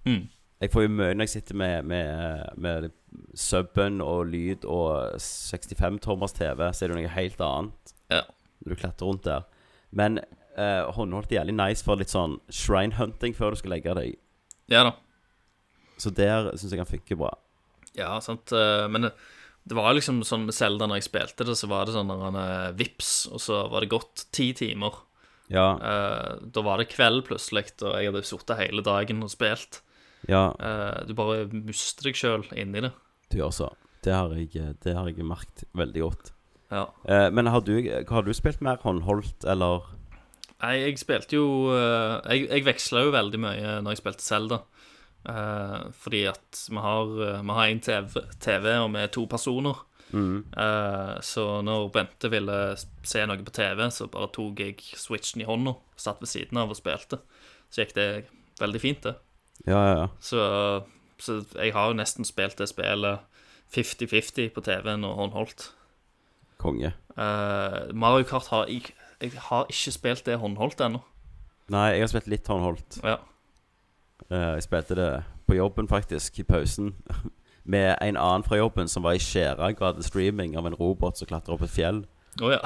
Speaker 7: Mm.
Speaker 6: Jeg får jo mye når jeg sitter med, med, med subben og lyd og 65-tommers TV, så er det jo noe helt annet
Speaker 7: Ja.
Speaker 6: når du klatrer rundt der. Men eh, håndholdt er jævlig nice for litt sånn shrine hunting før du skal legge deg.
Speaker 7: ja da.
Speaker 6: Så der syns jeg han funker bra.
Speaker 7: Ja, sant. eh, Men det- det var liksom sånn med Zelda når jeg spilte det, så var det sånn når han eh, vips, og så var det gått ti timer.
Speaker 6: Ja,
Speaker 7: Eh, Da var det kveld plutselig, og jeg hadde sittet hele dagen og spilt.
Speaker 6: ja
Speaker 7: Eh, Du bare mister deg sjøl inni det.
Speaker 6: du gjør så. Det har jeg, eh, det har jeg merket veldig godt.
Speaker 7: Ja.
Speaker 6: Eh, men har du, har du spilt mer håndholdt, eller?
Speaker 7: Nei, jeg spilte jo eh, Jeg, jeg veksla jo veldig mye når jeg spilte Zelda. Eh, fordi at vi har, eh, vi har en TV, TV, og vi er to personer. Eh, så når Bente ville se noe på TV, så bare tok jeg switchen i hånda, satt ved siden av og spilte. Så gikk det veldig fint, det.
Speaker 6: Ja, ja, ja.
Speaker 7: Så, så jeg har jo nesten spilt det spillet 50-50 på TV-en og håndholdt.
Speaker 6: Konge.
Speaker 7: Eh, Mario Kart har jeg, jeg har ikke spilt det håndholdt ennå.
Speaker 6: Nei, jeg har spilt litt håndholdt.
Speaker 7: Ja.
Speaker 6: Eh, jeg spilte det på jobben, faktisk, i pausen. Med en annen fra jobben som var i skjæra grad streaming av en robot som klatrer opp et fjell.
Speaker 7: Å ja.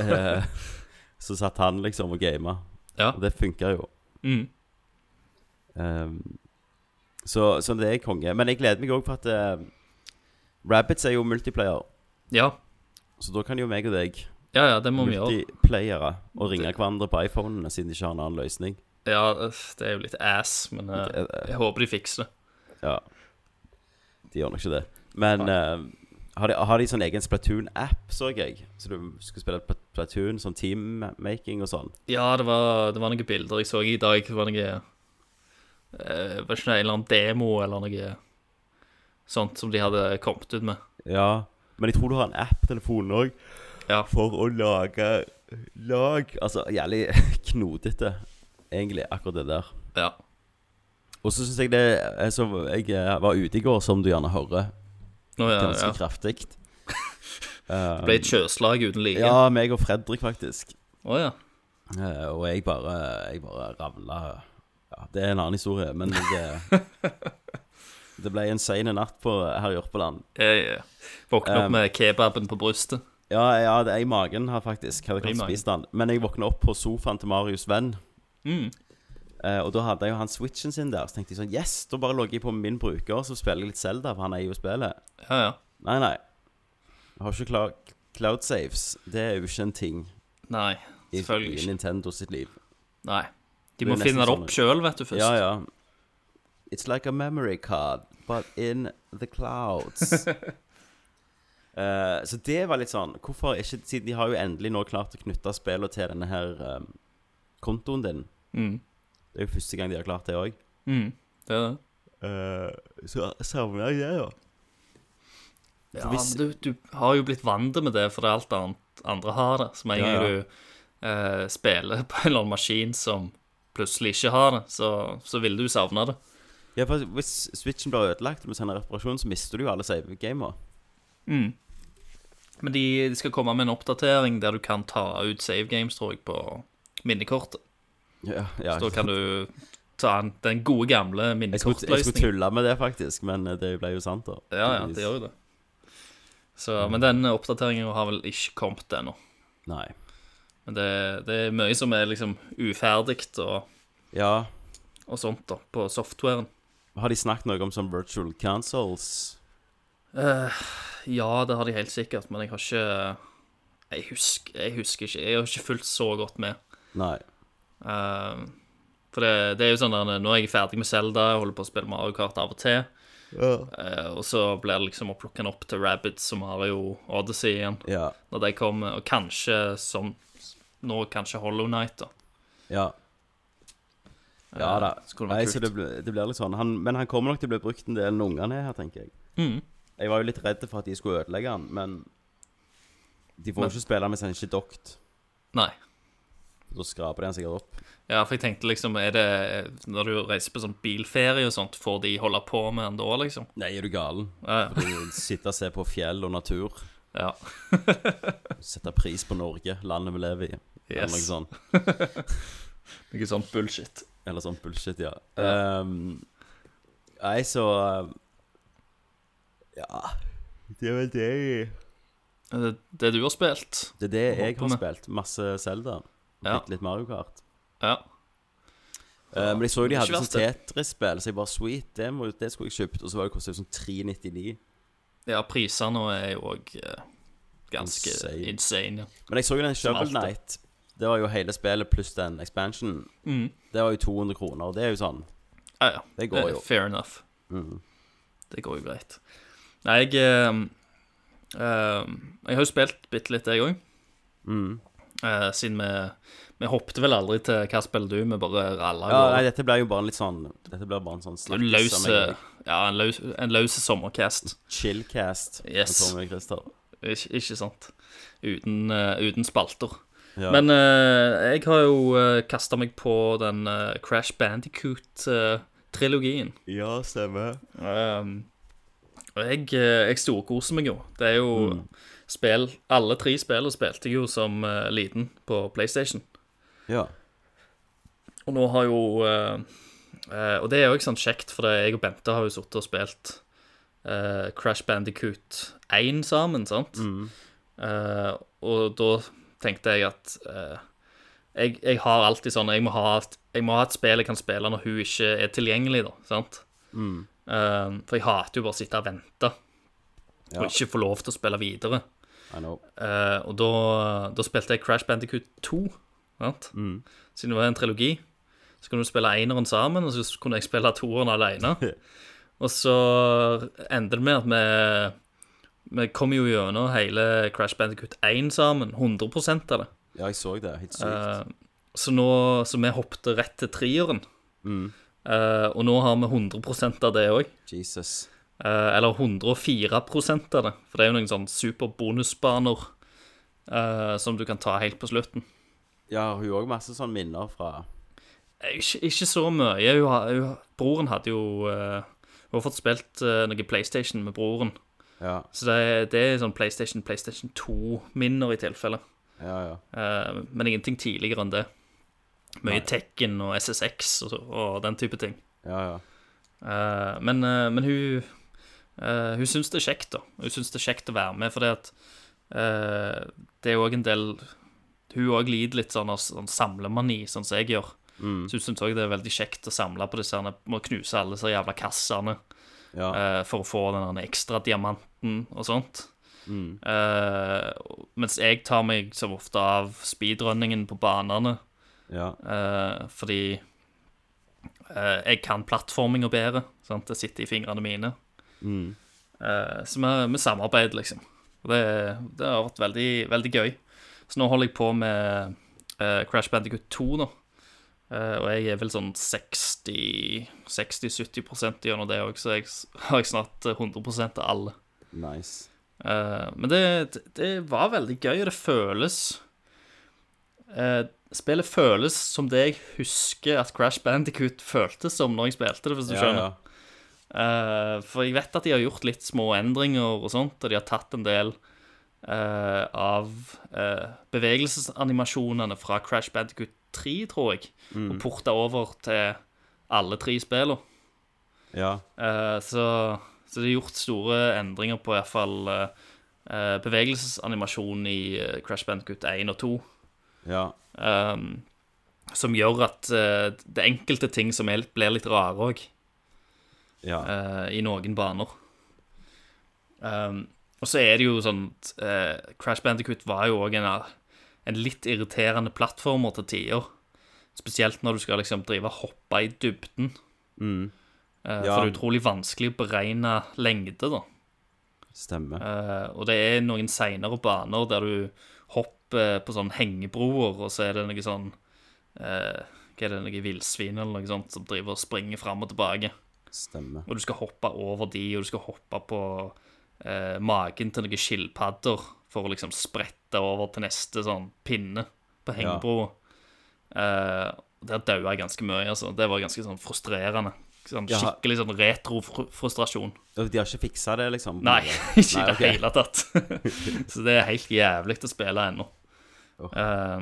Speaker 6: Eh, så satt han liksom og gama,
Speaker 7: Ja.
Speaker 6: og det funker jo.
Speaker 7: Mm.
Speaker 6: Ehm, så, så det er konge. Men jeg gleder meg òg for at uh, Rabbits er jo multiplayer,
Speaker 7: Ja,
Speaker 6: så da kan jo meg og deg
Speaker 7: Ja, ja, det må vi gjøre.
Speaker 6: multiplayere og ringe hverandre på iPhonene siden de ikke har en annen løsning.
Speaker 7: Ja, øff, det er jo litt ass, men eh,
Speaker 6: Det er det.
Speaker 7: jeg håper de fikser det.
Speaker 6: Ja. De gjør nok ikke det. Men eh, har, de, har de sånn egen Splatoon-app, så jeg. Så du skal spille Pl- Splatoon, sånn teammaking og sånn.
Speaker 7: Ja, det var, det var noen bilder jeg så i dag. Det var noe eh, Var ikke det en eller annen demo eller noe sånt som de hadde kommet ut med?
Speaker 6: Ja. Men jeg tror du har en app på telefonen òg
Speaker 7: Ja.
Speaker 6: for å lage lag. Altså jævlig knotete, egentlig, akkurat det der.
Speaker 7: ja.
Speaker 6: Og så syns jeg det eh, som jeg eh, var ute i går, som du gjerne hører,
Speaker 7: Nå, ja,
Speaker 6: ganske
Speaker 7: ja.
Speaker 6: kraftig. Eh,
Speaker 7: Det ble et sjøslag uten like. Å ja.
Speaker 6: Ja, meg og Fredrik, faktisk. Eh, og jeg bare, jeg bare ravla ja, Det er en annen historie, men jeg, det ble en sen natt på, her i Jørpeland.
Speaker 7: Jeg, eh, våkner
Speaker 6: Um,
Speaker 7: opp med kebaben på brystet.
Speaker 6: Ja, ja, det er i magen her, faktisk. Hadde
Speaker 7: I
Speaker 6: klart å
Speaker 7: magen.
Speaker 6: spise den. Men jeg våkna opp på sofaen til Marius' venn.
Speaker 7: Mm.
Speaker 6: Eh, og da hadde jeg jo han switchen sin der. Så tenkte jeg sånn Yes, da bare logger jeg på min bruker, så spiller jeg litt Zelda, for han er jo i spillet.
Speaker 7: Ja, ja.
Speaker 6: Nei, nei. Jeg har ikke klar Cloud saves, det er jo ikke en ting
Speaker 7: Nei,
Speaker 6: i,
Speaker 7: selvfølgelig
Speaker 6: i
Speaker 7: ikke.
Speaker 6: Nintendo sitt liv.
Speaker 7: Nei. De
Speaker 6: Det
Speaker 7: må
Speaker 6: er nesten
Speaker 7: finne det opp
Speaker 6: sånn-
Speaker 7: sjøl, vet du, først.
Speaker 6: Ja, ja. It's like a memory card, but in the clouds. Eh, så det var litt sånn Hvorfor ikke Siden de har jo endelig nå klart å knytte spillet til denne her eh, kontoen din.
Speaker 7: Mm.
Speaker 6: Det er jo første gang de har klart det òg.
Speaker 7: Mm. Det er det.
Speaker 6: Eh, så savner jeg det, da.
Speaker 7: Ja,
Speaker 6: hvis-
Speaker 7: men du, du har jo blitt vant med det, for det er alt annet andre har det. Så med en
Speaker 6: Ja,
Speaker 7: gang
Speaker 6: ja.
Speaker 7: du eh, spiller på en eller annen maskin som plutselig ikke har det, så, så vil du savne det.
Speaker 6: Ja, for hvis switchen blir ødelagt og du sender reparasjon, så mister du jo alle save-gamer.
Speaker 7: Mm. Men de, de skal komme med en oppdatering der du kan ta ut save games, tror jeg, på minnekortet.
Speaker 6: Ja, ja.
Speaker 7: Så da kan du ta en, den gode, gamle
Speaker 6: Jeg skulle, jeg skulle
Speaker 7: minnekortløsningen.
Speaker 6: tulle med det, faktisk, men eh, det ble jo sant, da.
Speaker 7: Ja, ja, det gjør jo det. Så, men den oppdateringen har vel ikke kommet ennå.
Speaker 6: Nei.
Speaker 7: Men det, det er mye som er liksom uferdig og,
Speaker 6: Ja,
Speaker 7: og sånt, da, på softwaren.
Speaker 6: Har de snakket noe om sånn virtual consoles?
Speaker 7: Eh, Ja, det har de helt sikkert, men jeg har ikke Jeg husker, jeg husker ikke. Jeg har ikke fulgt så godt med.
Speaker 6: Nei.
Speaker 7: Eh, for det, det er jo sånn der, Nå er jeg ferdig med Zelda, jeg holder på å spille Mario Kart av og til. Eh, og så blir det liksom å plukke den opp til Rabbids og Mario Odyssey igjen.
Speaker 6: Ja.
Speaker 7: Når de kommer, og kanskje som nå kanskje Hollow Night, da.
Speaker 6: Ja. Ja da.
Speaker 7: Eh, skulle
Speaker 6: Nei,
Speaker 7: vært
Speaker 6: så
Speaker 7: kult.
Speaker 6: det, ble, det blir litt sånn. Han, men han kommer nok til å bli brukt en del når ungene er her, tenker jeg.
Speaker 7: Mm.
Speaker 6: Jeg var jo litt redd for at de skulle ødelegge han, men de får
Speaker 7: Men-
Speaker 6: jo ikke spille mens han ikke er dokt.
Speaker 7: Nei.
Speaker 6: Da skraper de han sikkert opp.
Speaker 7: Ja, for jeg tenkte liksom, er det Når du reiser på sånn bilferie og sånt, får de holde på med den da, liksom?
Speaker 6: Nei, er du galen?
Speaker 7: Ja, ja.
Speaker 6: De sitter og ser på fjell og natur.
Speaker 7: ja.
Speaker 6: Setter pris på Norge, landet vi lever i. Eller noe
Speaker 7: Yes.
Speaker 6: sånt.
Speaker 7: Noe sånn bullshit.
Speaker 6: Eller sånn bullshit, ja.
Speaker 7: Ja.
Speaker 6: Ehm, nei, så eh, Ja. Det er vel det
Speaker 7: Det, det du har spilt.
Speaker 6: Det er det jeg har
Speaker 7: med.
Speaker 6: spilt. Masse Zelda. Og
Speaker 7: Ja.
Speaker 6: Bitte litt Mario Kart.
Speaker 7: Ja.
Speaker 6: Eh, men jeg så jo de
Speaker 7: Det er
Speaker 6: hadde
Speaker 7: ikke
Speaker 6: sånn Tetris-spill, så jeg bare sweet, det, må, jo- det skulle jeg kjøpt. Og så var det kostet sånn 399.
Speaker 7: ja, prisene er jo òg eh, ganske
Speaker 6: Insane.
Speaker 7: insane. ja.
Speaker 6: Men jeg så jo den Shovel
Speaker 7: alltid.
Speaker 6: Knight. Det var jo hele spillet pluss den expansionen. Det var jo 200 kroner, og det er jo sånn.
Speaker 7: Mm. Ja, ja.
Speaker 6: Det går
Speaker 7: er
Speaker 6: jo. Mm.
Speaker 7: Fair enough. Det går jo greit. Nei, jeg eh, eh, Jeg har jo spilt bitte litt, jeg òg.
Speaker 6: Mm.
Speaker 7: siden vi Vi hoppet vel aldri til 'hva spiller du?' Vi bare ralla.
Speaker 6: Ja,
Speaker 7: av
Speaker 6: nei,
Speaker 7: gårde.
Speaker 6: dette blir jo bare en litt sånn Dette blir bare en sånn slags
Speaker 7: Løse, ja, en løs, en løs sommercast.
Speaker 6: Chillcast. med
Speaker 7: Yes.
Speaker 6: Tommy og Christer.
Speaker 7: Ikke, ikke sant? Uten, eh, uten spalter.
Speaker 6: Ja.
Speaker 7: Men eh, jeg har jo uh, kasta meg på den eh, Crash Bandicoot-trilogien. Ehm,
Speaker 6: Ja, stemmer.
Speaker 7: og jeg, eh, jeg storkoser meg jo. Det er jo spill Alle tre spillene spilte jeg jo som eh, liten på PlayStation.
Speaker 6: Ja.
Speaker 7: Og nå har jo eh, eh, Og det er jo ikke sånn kjekt, for det, jeg og Bente har jo sittet og spilt eh, Crash Bandicoot 1 sammen, sant?
Speaker 6: Mm.
Speaker 7: Eh, og da tenkte jeg at eh, jeg, jeg har alltid sånn jeg må, ha, jeg må ha et spill jeg kan spille når hun ikke er tilgjengelig, da. sant?
Speaker 6: Mm.
Speaker 7: Eh, for jeg hater jo bare å sitte og vente
Speaker 6: Ja.
Speaker 7: og ikke få lov til å spille videre.
Speaker 6: I know.
Speaker 7: Eh, og da, da spilte jeg Crash Bandicoot 2, sant?
Speaker 6: Mm.
Speaker 7: siden det var en trilogi. Så kunne du spille eneren sammen, og så kunne jeg spille toeren alene. og så endte det med at vi, vi kom jo gjennom hele Crash Bandicoot 1 sammen, 100 av det.
Speaker 6: Ja, jeg så det. Helt sykt.
Speaker 7: Eh, så nå, så vi hoppet rett til treeren. Eh, og nå har vi 100 av det òg.
Speaker 6: Jesus.
Speaker 7: Eh, eller 104 av det. For det er jo noen sånn superbonusbaner eh, som du kan ta helt på slutten.
Speaker 6: Ja, hun har òg masse sånne minner fra
Speaker 7: Eh, Ikke, ikke så mye. Hun, har- hun, broren hadde jo eh, Hun har fått spilt eh, noe PlayStation med broren.
Speaker 6: Ja,
Speaker 7: Så det, det er sånn PlayStation, PlayStation 2-minner i tilfelle.
Speaker 6: ja. ja.
Speaker 7: Eh, men ingenting tidligere enn det. Mye Tekken og SSX og, og den type ting.
Speaker 6: ja, ja.
Speaker 7: Eh, men, eh, men hun eh, Hun syns det er kjekt, da. Hun syns det er kjekt å være med, fordi at eh, det er òg en del Hun òg lider litt sånn av sånn samlemani, sånn som jeg gjør.
Speaker 6: Mm.
Speaker 7: Så hun syns òg det er veldig kjekt å samle på disse her, Må knuse alle disse jævla kassene
Speaker 6: ja.
Speaker 7: eh, for å få den her ekstra diamanten og sånt.
Speaker 6: Mm.
Speaker 7: Eh, mens jeg tar meg så ofte av speedrunningen på banene,
Speaker 6: ja.
Speaker 7: eh, fordi eh, jeg kan plattforminga bedre. Sant? Det sitter i fingrene mine.
Speaker 6: Mm.
Speaker 7: Eh, så vi, vi samarbeider, liksom. Og Det, det har vært veldig, veldig gøy. Så nå holder jeg på med eh, Crash Bandicoot 2 nå. Eh, og jeg er vel sånn 60-70 gjennom det òg, så jeg s- har jeg snart 100 av alle.
Speaker 6: Nice.
Speaker 7: Eh, men det, det- det var veldig gøy, og det føles eh, Spillet føles som det jeg husker at Crash Bandicoot føltes som når jeg spilte det, hvis du
Speaker 6: Ja,
Speaker 7: skjønner.
Speaker 6: ja.
Speaker 7: Eh, for jeg vet at de har gjort litt små endringer og sånt, og de har tatt en del eh, av eh, bevegelsesanimasjonene fra Crash Bandicoot 3, tror jeg,
Speaker 6: Mm.
Speaker 7: og porta over til alle tre spillene.
Speaker 6: ja.
Speaker 7: Eh, så, så de har gjort store endringer på i hvert fall eh, eh, bevegelsesanimasjon i eh, Crash Bandicoot 1 og 2.
Speaker 6: ja.
Speaker 7: ehm, som gjør at eh, det er enkelte ting som er, blir litt rare òg
Speaker 6: ja.
Speaker 7: eh, i noen baner. Um, og så er det jo sånn at, eh, Crash Bandicoot var jo òg en, en litt irriterende plattformer til tider. Spesielt når du skal liksom drive og hoppe i dybden.
Speaker 6: Mm.
Speaker 7: Eh,
Speaker 6: Ja.
Speaker 7: For det er utrolig vanskelig å beregne lengde, da.
Speaker 6: Stemmer.
Speaker 7: Eh, og det er noen seinere baner der du hopper på sånn hengebroer, og så er det noe sånn eh, Hva er det, noe villsvin eller noe sånt som driver og springer fram og tilbake?
Speaker 6: Stemmer.
Speaker 7: Og du skal hoppe over de, og du skal hoppe på eh, magen til noen skilpadder for å liksom sprette over til neste sånn pinne på hengebroa. Eh, der daua jeg ganske mye, altså. Det var ganske sånn frustrerende. Sånn,
Speaker 6: Ja.
Speaker 7: skikkelig sånn retro-frustrasjon.
Speaker 6: Og De har ikke fiksa det, liksom?
Speaker 7: Nei, ikke i
Speaker 6: Nei,
Speaker 7: det
Speaker 6: ok.
Speaker 7: hele tatt. så det er helt jævlig å spille ennå.
Speaker 6: Åh.
Speaker 7: Eh,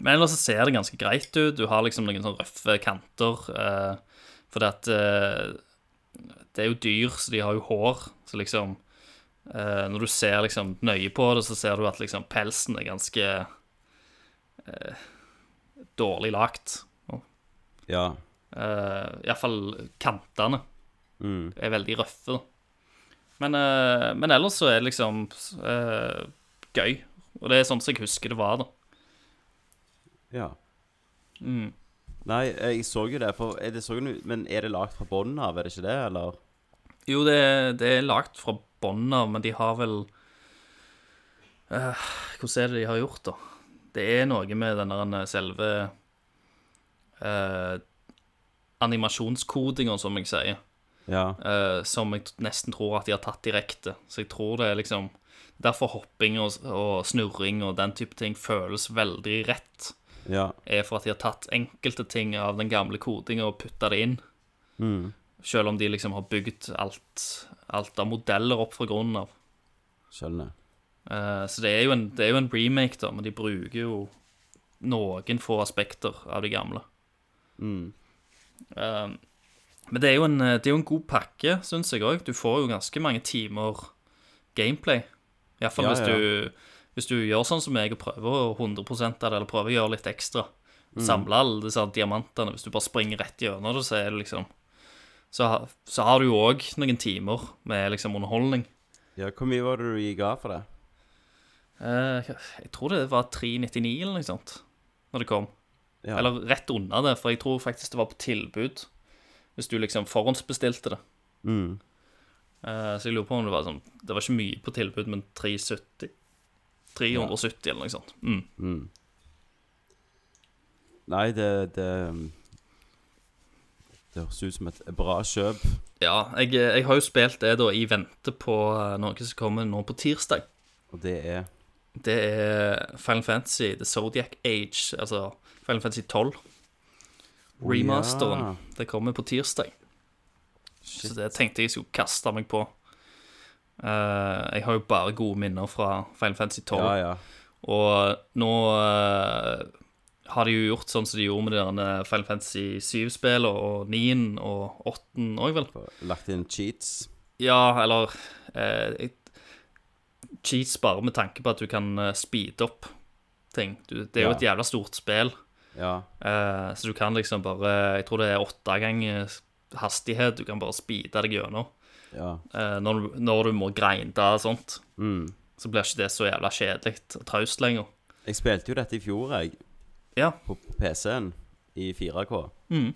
Speaker 7: men ellers så ser det ganske greit ut. Du har liksom noen sånn røffe kanter. eh, fordi at eh, det er jo dyr, så de har jo hår. Så liksom eh, Når du ser liksom nøye på det, så ser du at liksom pelsen er ganske eh, dårlig lagt.
Speaker 6: Ja.
Speaker 7: Uh, Iallfall kantene
Speaker 6: Mm.
Speaker 7: er veldig røffe. da. Men, eh, men ellers så er det liksom eh, gøy. Og det er sånn som jeg husker det var, da.
Speaker 6: ja.
Speaker 7: Mm.
Speaker 6: Nei, jeg så jo det, for er det så jo, nu- Men er det lagd fra bunnen av, er det ikke det, eller?
Speaker 7: Jo, det, er- det er lagt fra bånn av, men de har vel eh, Hvordan er det de har gjort, da? Det er noe med den der eh, selve uh, animasjonskodinga, som jeg sier.
Speaker 6: Ja.
Speaker 7: eh, som jeg t- nesten tror at de har tatt direkte. Så jeg tror det er liksom Derfor hopping og, og snurring og den type ting føles veldig rett.
Speaker 6: Ja.
Speaker 7: Er for at de har tatt enkelte ting av den gamle kodinga og putta det inn.
Speaker 6: Mm.
Speaker 7: Selv om de liksom har bygd alt, alt av modeller opp fra grunnen av.
Speaker 6: Skjønner.
Speaker 7: Eh, så det er, jo en, det er jo en remake, da, men de bruker jo noen få aspekter av de gamle.
Speaker 6: Mm.
Speaker 7: Eh, men det er, jo en, eh, det er jo en god pakke, syns jeg òg. Du får jo ganske mange timer gameplay. Iallfall
Speaker 6: Ja,
Speaker 7: fall
Speaker 6: ja.
Speaker 7: hvis, du, hvis du gjør sånn som meg og prøver å 100 av det, eller prøver å gjøre litt ekstra.
Speaker 6: Mm.
Speaker 7: Samle alle disse her diamantene. Hvis du bare springer rett gjennom det, så er det liksom Så, ha- så har du jo òg noen timer med liksom underholdning.
Speaker 6: Ja, hvor mye var det du gikk av for det?
Speaker 7: Eh, jeg tror det var 399 eller noe sånt når det kom.
Speaker 6: Ja.
Speaker 7: Eller rett unna det, for jeg tror faktisk det var på tilbud. Hvis du liksom forhåndsbestilte det.
Speaker 6: Mm.
Speaker 7: Eh, så jeg lurer på om det var sånn Det var ikke mye på tilbud, men 370. 370 eller noe sånt. Mm.
Speaker 6: Nei, det, det mm. Det høres ut som et bra kjøp.
Speaker 7: Ja, jeg, jeg har jo spilt det da i vente på eh, noe som kommer nå på tirsdag.
Speaker 6: Og det er
Speaker 7: Det er Final Fantasy The Zodiac Age, altså Final Fantasy 12. Remasteren.
Speaker 6: ja.
Speaker 7: Det kommer på tirsdag. Så det tenkte jeg skulle kaste meg på. Eh, jeg har jo bare gode minner fra Final Fantasy 12.
Speaker 6: Ja, ja.
Speaker 7: Og nå eh, har de jo gjort sånn som de gjorde med de derne Final Fantasy 7-spillene, og 9-en og 8-en òg, vel?
Speaker 6: Lagt inn cheats.
Speaker 7: Ja, eller eh, jeg- Cheats bare med tanke på at du kan eh, speede opp ting. Du, det er jo
Speaker 6: Ja.
Speaker 7: et jævla stort spill,
Speaker 6: Ja.
Speaker 7: eh, så du kan liksom bare Jeg tror det er åtte ganger hastighet. Du kan bare speede deg gjennom.
Speaker 6: ja.
Speaker 7: Eh, når, du- når du må grinde og sånt,
Speaker 6: Mm.
Speaker 7: så blir ikke det så jævla kjedelig og traust lenger.
Speaker 6: Jeg spilte jo dette i fjor, jeg.
Speaker 7: Ja.
Speaker 6: På på PC-en i 4K.
Speaker 7: Mhm.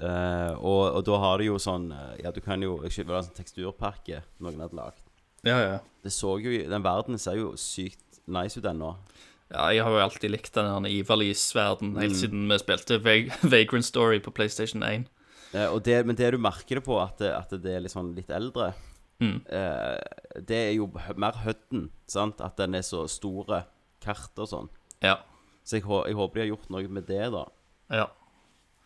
Speaker 6: Eh, og, og da har du jo sånn eh, Ja, du kan jo ikke det var en sånn teksturpakke noen hadde lagd.
Speaker 7: Ja, ja.
Speaker 6: Det så jo Den verden ser jo sykt nice ut ennå.
Speaker 7: Ja, jeg har jo alltid likt den Ivalis-verden helt siden vi spilte Vag Vagrant Story på PlayStation 1.
Speaker 6: Eh, og det, men det du merker det på, at det, at det er litt sånn litt eldre,
Speaker 7: Mhm.
Speaker 6: eh, det er jo hø- mer hudden, sant? At den er så store kart og sånn.
Speaker 7: Ja.
Speaker 6: Så jeg, hå- jeg håper de har gjort noe med det, da.
Speaker 7: ja.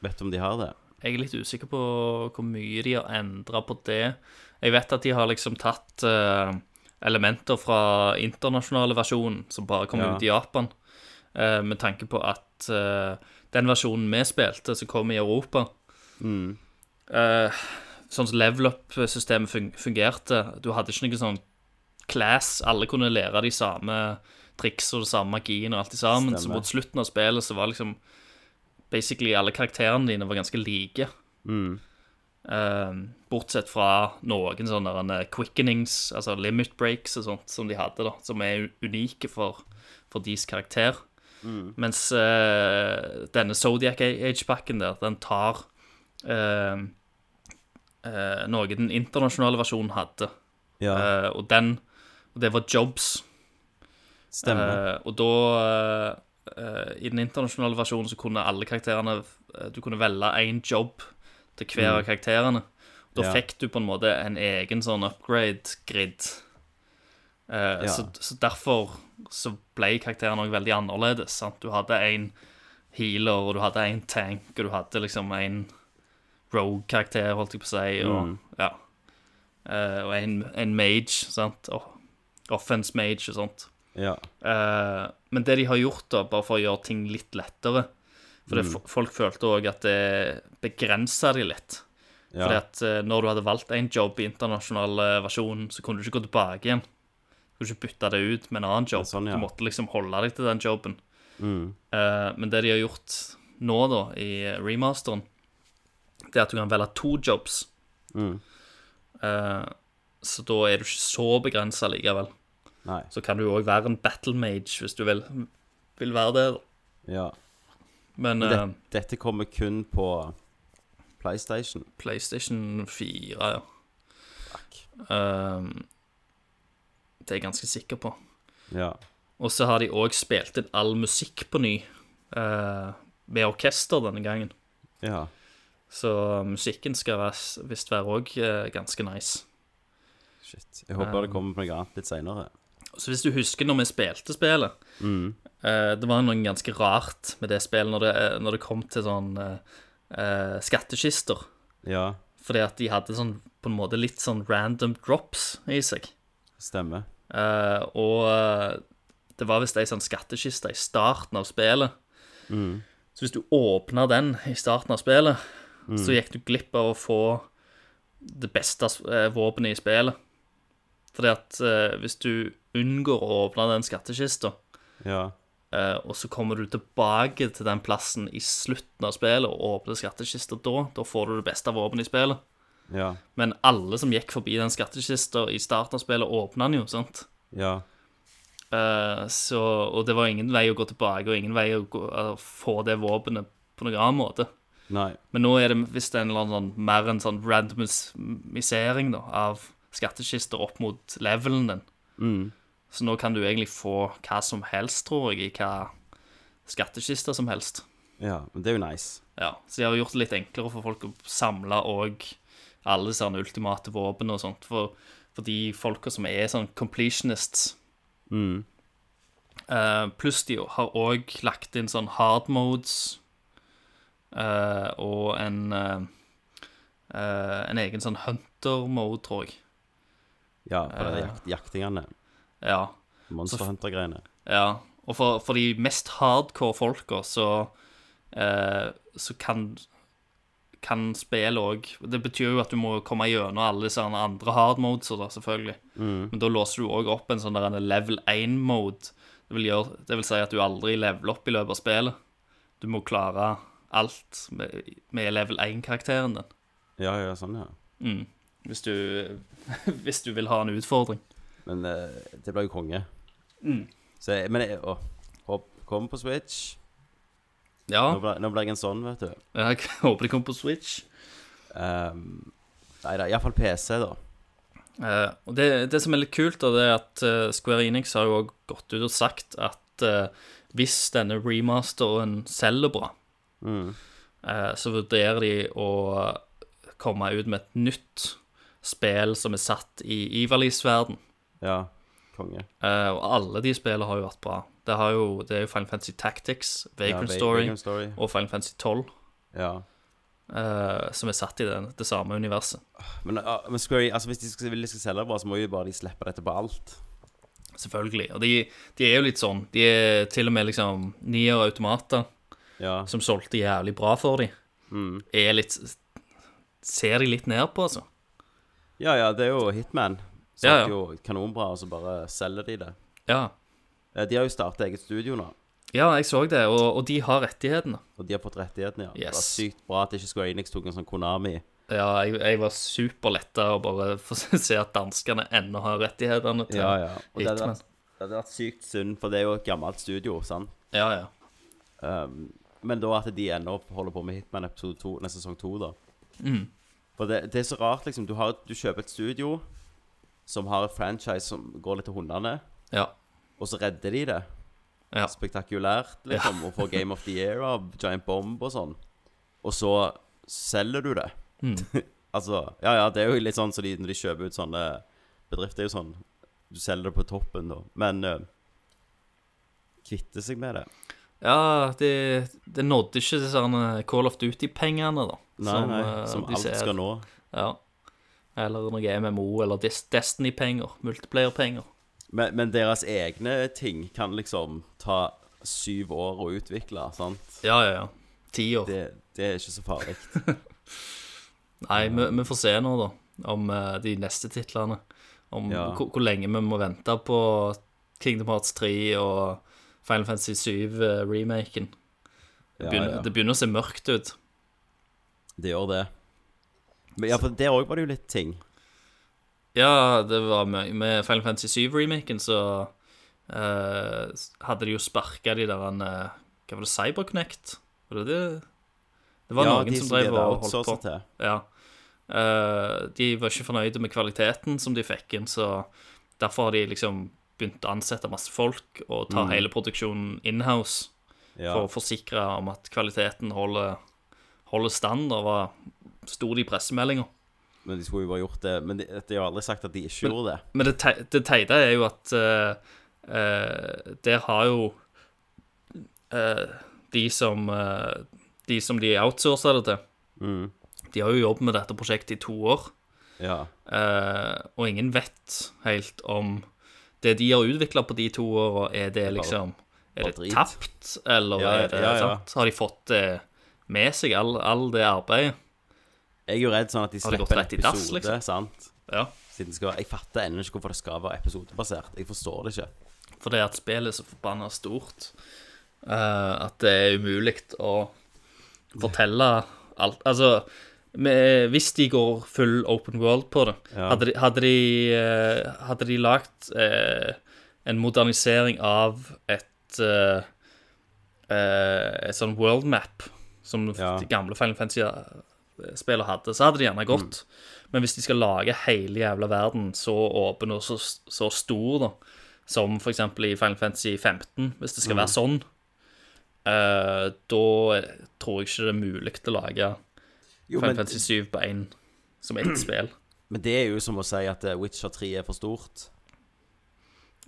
Speaker 6: Vet du om de har det?
Speaker 7: Jeg er litt usikker på hvor mye de har endra på det. Jeg vet at de har liksom tatt eh, elementer fra internasjonale versjonen, som bare kom
Speaker 6: Ja.
Speaker 7: ut i Japan, eh, med tanke på at eh, den versjonen vi spilte, som kom i Europa
Speaker 6: Mm.
Speaker 7: eh, Sånn som level up-systemet fun fungerte, du hadde ikke noe sånn class. Alle kunne lære de samme triks og den samme magien og alt det sammen. Så
Speaker 6: Stemmer.
Speaker 7: mot slutten av spillet så var liksom Basically alle karakterene dine var ganske like.
Speaker 6: Mm.
Speaker 7: Eh, bortsett fra noen sånne der eh, quickenings, altså limit breaks og sånt, som de hadde, da, som er unike for, for deres karakter.
Speaker 6: Mm.
Speaker 7: Mens eh, denne Zodiac Age-pakken der, den tar eh, eh, noe den internasjonale versjonen hadde,
Speaker 6: Ja,
Speaker 7: Eh, og den og det var jobs.
Speaker 6: stemmer.
Speaker 7: Eh, og da eh, eh, I den internasjonale versjonen så kunne alle karakterene eh, Du kunne velge én jobb til hver av karakterene. Da
Speaker 6: Mm. Ja.
Speaker 7: fikk du på en måte en egen sånn upgrade-grid. Eh,
Speaker 6: Ja.
Speaker 7: så, så derfor så ble karakterene òg veldig annerledes. Sant? Du hadde en healer, og du hadde en tank, og du hadde liksom en rogue-karakter, holdt jeg på å si, og
Speaker 6: Mm.
Speaker 7: ja. Eh, og en, en mage, sant. Og offense mage og sånt.
Speaker 6: ja.
Speaker 7: Eh, men det de har gjort, da, bare for å gjøre ting litt lettere For
Speaker 6: Mm.
Speaker 7: det, fo- folk følte òg at det begrensa de litt.
Speaker 6: Ja.
Speaker 7: Fordi at eh, når du hadde valgt en jobb i internasjonal eh, versjon, så kunne du ikke gå tilbake igjen. Du kunne ikke bytte det ut med en annen jobb.
Speaker 6: sånn, ja.
Speaker 7: Du måtte liksom holde deg til den jobben.
Speaker 6: Mm,
Speaker 7: Eh, men det de har gjort nå, da, i remasteren, det er at du kan velge to jobs.
Speaker 6: Mm.
Speaker 7: Eh, så da er du ikke så begrensa likevel.
Speaker 6: Nei.
Speaker 7: Så kan du jo òg være en battle mage hvis du vil, vil være det. da.
Speaker 6: Ja.
Speaker 7: Men
Speaker 6: Det,
Speaker 7: eh,
Speaker 6: dette kommer kun på PlayStation.
Speaker 7: PlayStation 4, ja.
Speaker 6: Fuck.
Speaker 7: Eh, det er jeg ganske sikker på.
Speaker 6: Ja.
Speaker 7: Og så har de òg spilt inn all musikk på ny, eh, med orkester denne gangen.
Speaker 6: ja.
Speaker 7: Så eh, musikken skal være- visst være òg eh, ganske nice.
Speaker 6: Shit. Jeg håper
Speaker 7: Um.
Speaker 6: det kommer på noe annet litt seinere.
Speaker 7: Så hvis du husker når vi spilte spillet
Speaker 6: Mm.
Speaker 7: eh, Det var noe ganske rart med det spillet når det, eh, når det kom til sånn eh, eh, skattkister.
Speaker 6: Ja.
Speaker 7: Fordi at de hadde sånn på en måte litt sånn random drops i seg.
Speaker 6: Stemmer.
Speaker 7: Eh, og eh, det var visst ei sånn skattkiste i starten av spillet. Så hvis du åpna den i starten av spillet, så gikk du glipp av å få det beste eh, våpenet i spillet. Fordi at eh, hvis du unngår å åpne den skattkista,
Speaker 6: Ja.
Speaker 7: eh, og så kommer du tilbake til den plassen i slutten av spillet og åpner skattkista da, da får du det beste våpenet i spillet.
Speaker 6: Ja.
Speaker 7: Men alle som gikk forbi den skattkista i starten av spillet, åpna den jo, sant?
Speaker 6: Ja.
Speaker 7: Eh, så, og det var ingen vei å gå tilbake, og ingen vei å gå, å få det våpenet på noen annen måte.
Speaker 6: Nei.
Speaker 7: Men nå er det visst en eller annen sånn, mer en sånn randomisering da, av skattkister opp mot levelen din. Så nå kan du egentlig få hva som helst, tror jeg, i hva skattkister som helst.
Speaker 6: Ja, men det er jo nice.
Speaker 7: Ja, Så de har gjort det litt enklere for folk å samle òg alle sånne ultimate våpen og sånt. For, for de folka som er sånn completionists. Eh, pluss de har òg lagt inn sånn hard modes eh, og en eh, eh, En egen sånn hunter mode, tror jeg.
Speaker 6: Ja, for det er
Speaker 7: Eh.
Speaker 6: jakt, jaktingene.
Speaker 7: Ja.
Speaker 6: Monster Hunter-greiene.
Speaker 7: Ja, og for, for de mest hardcore folka, så, eh, så kan, kan spillet òg Det betyr jo at du må komme gjennom alle disse andre- andre hard modes, og da, selvfølgelig.
Speaker 6: Mm.
Speaker 7: Men da låser du òg opp en sånn der en level 1-mode. Det, vil gjøre- det vil si at du aldri leveler opp i løpet av spillet. Du må klare alt med, med level 1-karakteren din. Mm.
Speaker 6: Ja, ja, sånn, ja.
Speaker 7: Hvis du, hvis du vil ha en utfordring.
Speaker 6: Men eh, det blir jo konge.
Speaker 7: Mm.
Speaker 6: Så jeg, men jeg, å, hopp, kom på Switch. Nå
Speaker 7: Ja,
Speaker 6: ble, nå ble jeg en sånn, vet du.
Speaker 7: jeg håper det kommer på Switch.
Speaker 6: Um, nei da, iallfall PC, da.
Speaker 7: Eh, og det, det som er litt kult, da, det er at eh, Square Enix har jo også gått ut og sagt at eh, hvis denne remasteren selger bra,
Speaker 6: Mm.
Speaker 7: eh, så vurderer de å eh, komme ut med et nytt spill som er satt i Ivalis-verden.
Speaker 6: Ja, konge.
Speaker 7: Eh, og alle de spillene har jo vært bra. Det, har jo, det er jo Final Fantasy Tactics, Vagrant
Speaker 6: ja,
Speaker 7: Story
Speaker 6: Vagrant Story.
Speaker 7: og Final Fantasy 12
Speaker 6: Ja.
Speaker 7: eh, som er satt i den, det samme universet.
Speaker 6: Men, ah, men Square, altså, hvis de skal, vil de skal selge bra, så må jo bare de slippe dette på alt.
Speaker 7: Selvfølgelig. Og de, de er jo litt sånn. De er til og med liksom Nier Automata,
Speaker 6: Ja.
Speaker 7: som solgte jævlig bra for dem,
Speaker 6: Mm.
Speaker 7: er litt Ser de litt ned på, altså.
Speaker 6: ja, ja, det er jo Hitman. Så
Speaker 7: Ja,
Speaker 6: er
Speaker 7: ja.
Speaker 6: det jo kanonbra, og så bare selger de det.
Speaker 7: Ja,
Speaker 6: Eh, De har jo starta eget studio nå,
Speaker 7: ja jeg så det, og, og de har rettighetene.
Speaker 6: og de har fått rettighetene, ja. Det var
Speaker 7: Yes.
Speaker 6: sykt bra at ikke Square Enix tok en sånn Konami.
Speaker 7: Ja, jeg, jeg var superletta å bare få se at danskene ennå har rettighetene til
Speaker 6: Ja, ja. Og det hadde,
Speaker 7: Hitman.
Speaker 6: vært, det hadde vært sykt synd, for det er jo et gammelt studio, sant?
Speaker 7: Ja, ja.
Speaker 6: Um, men da at de ennå holder på med Hitman episode 2, nei, sesong 2, da.
Speaker 7: Mm.
Speaker 6: For det, det er så rart, liksom. Du, har, du kjøper et studio som har et franchise som går litt til hundene,
Speaker 7: ja.
Speaker 6: og så redder de det.
Speaker 7: Ja.
Speaker 6: Spektakulært, liksom. Og får Game of the Year av Giant Bomb og sånn. Og så selger du det.
Speaker 7: Mm.
Speaker 6: altså Ja, ja, det er jo litt sånn som de, når de kjøper ut sånne bedrifter, er jo sånn Du selger det på toppen, da. Men uh, kvitte seg med det.
Speaker 7: Ja, det, det nådde ikke disse her Call of Duty-pengene, da.
Speaker 6: Nei, som, nei,
Speaker 7: eh,
Speaker 6: som
Speaker 7: de
Speaker 6: alt
Speaker 7: ser.
Speaker 6: skal nå.
Speaker 7: Ja. Eller noe MMO eller Dis Destiny-penger. Multiplayer-penger.
Speaker 6: Men, men deres egne ting kan liksom ta syv år å utvikle, sant?
Speaker 7: Ja, ja, ja. Ti år.
Speaker 6: Det, det er ikke så farlig.
Speaker 7: Nei, vi, vi får se nå, da, om eh, de neste titlene. Om
Speaker 6: Ja.
Speaker 7: hvor, hvor lenge vi må vente på Kingdom Hearts 3 og Final Fantasy 7-remaken.
Speaker 6: Ja, ja.
Speaker 7: Det begynner å se mørkt ut.
Speaker 6: Det gjør det. Men ja, for der òg var det jo litt ting.
Speaker 7: Ja, det var med, med Final Fantasy 7-remaken, så eh, s- hadde de jo sparka de der eh, Hva var det, CyberConnect? Var det det? Det var
Speaker 6: ja,
Speaker 7: noen som drev og holdt på.
Speaker 6: outsourcet til.
Speaker 7: Ja. Eh, de var ikke fornøyde med kvaliteten som de fikk inn, så derfor har de liksom begynt å ansette masse folk og ta hele produksjonen in-house
Speaker 6: Ja.
Speaker 7: for å forsikre om at kvaliteten holder, holder stand, og var stor i pressemeldinga.
Speaker 6: Men de skulle jo bare gjort det. Men de, de har aldri sagt at de ikke gjorde det.
Speaker 7: Men det te- det teite er jo at eh, eh, der har jo eh, de som eh, De som de outsourcer det til, de har jo jobbet med dette prosjektet i to år.
Speaker 6: Ja.
Speaker 7: Eh, og ingen vet helt om det de har utvikla på de to åra, er det liksom Er
Speaker 6: bare
Speaker 7: det
Speaker 6: drit.
Speaker 7: tapt, eller
Speaker 6: Ja,
Speaker 7: er det
Speaker 6: ja, ja.
Speaker 7: sant? Har de fått det med seg, all, all det arbeidet?
Speaker 6: Jeg er jo redd sånn at de
Speaker 7: Har det gått
Speaker 6: slipper en
Speaker 7: rett i dass,
Speaker 6: episode,
Speaker 7: liksom?
Speaker 6: sant?
Speaker 7: Ja.
Speaker 6: Siden det skal være, jeg fatter ennå ikke hvorfor det skal være episodebasert. Jeg forstår det ikke.
Speaker 7: Fordi at spillet er så forbanna stort eh, at det er umulig å fortelle alt Altså, med, hvis de går full open world på det Hadde de, hadde de, eh, hadde de lagt eh, en modernisering av et eh, eh, Et sånn world map som
Speaker 6: Ja.
Speaker 7: de gamle Final Fantasy-spillene hadde. Så hadde det gjerne gått.
Speaker 6: Mm.
Speaker 7: Men hvis de skal lage hele jævla verden så åpen og så, så stor, da, som f.eks. i Final Fantasy 15,
Speaker 6: Mm.
Speaker 7: hvis det skal være sånn, eh, da tror jeg ikke det er mulig til å lage
Speaker 6: Jo,
Speaker 7: Final
Speaker 6: men,
Speaker 7: Fantasy 7 på én som ett spill.
Speaker 6: men det er jo som å si at eh, Witcher 3 er for stort.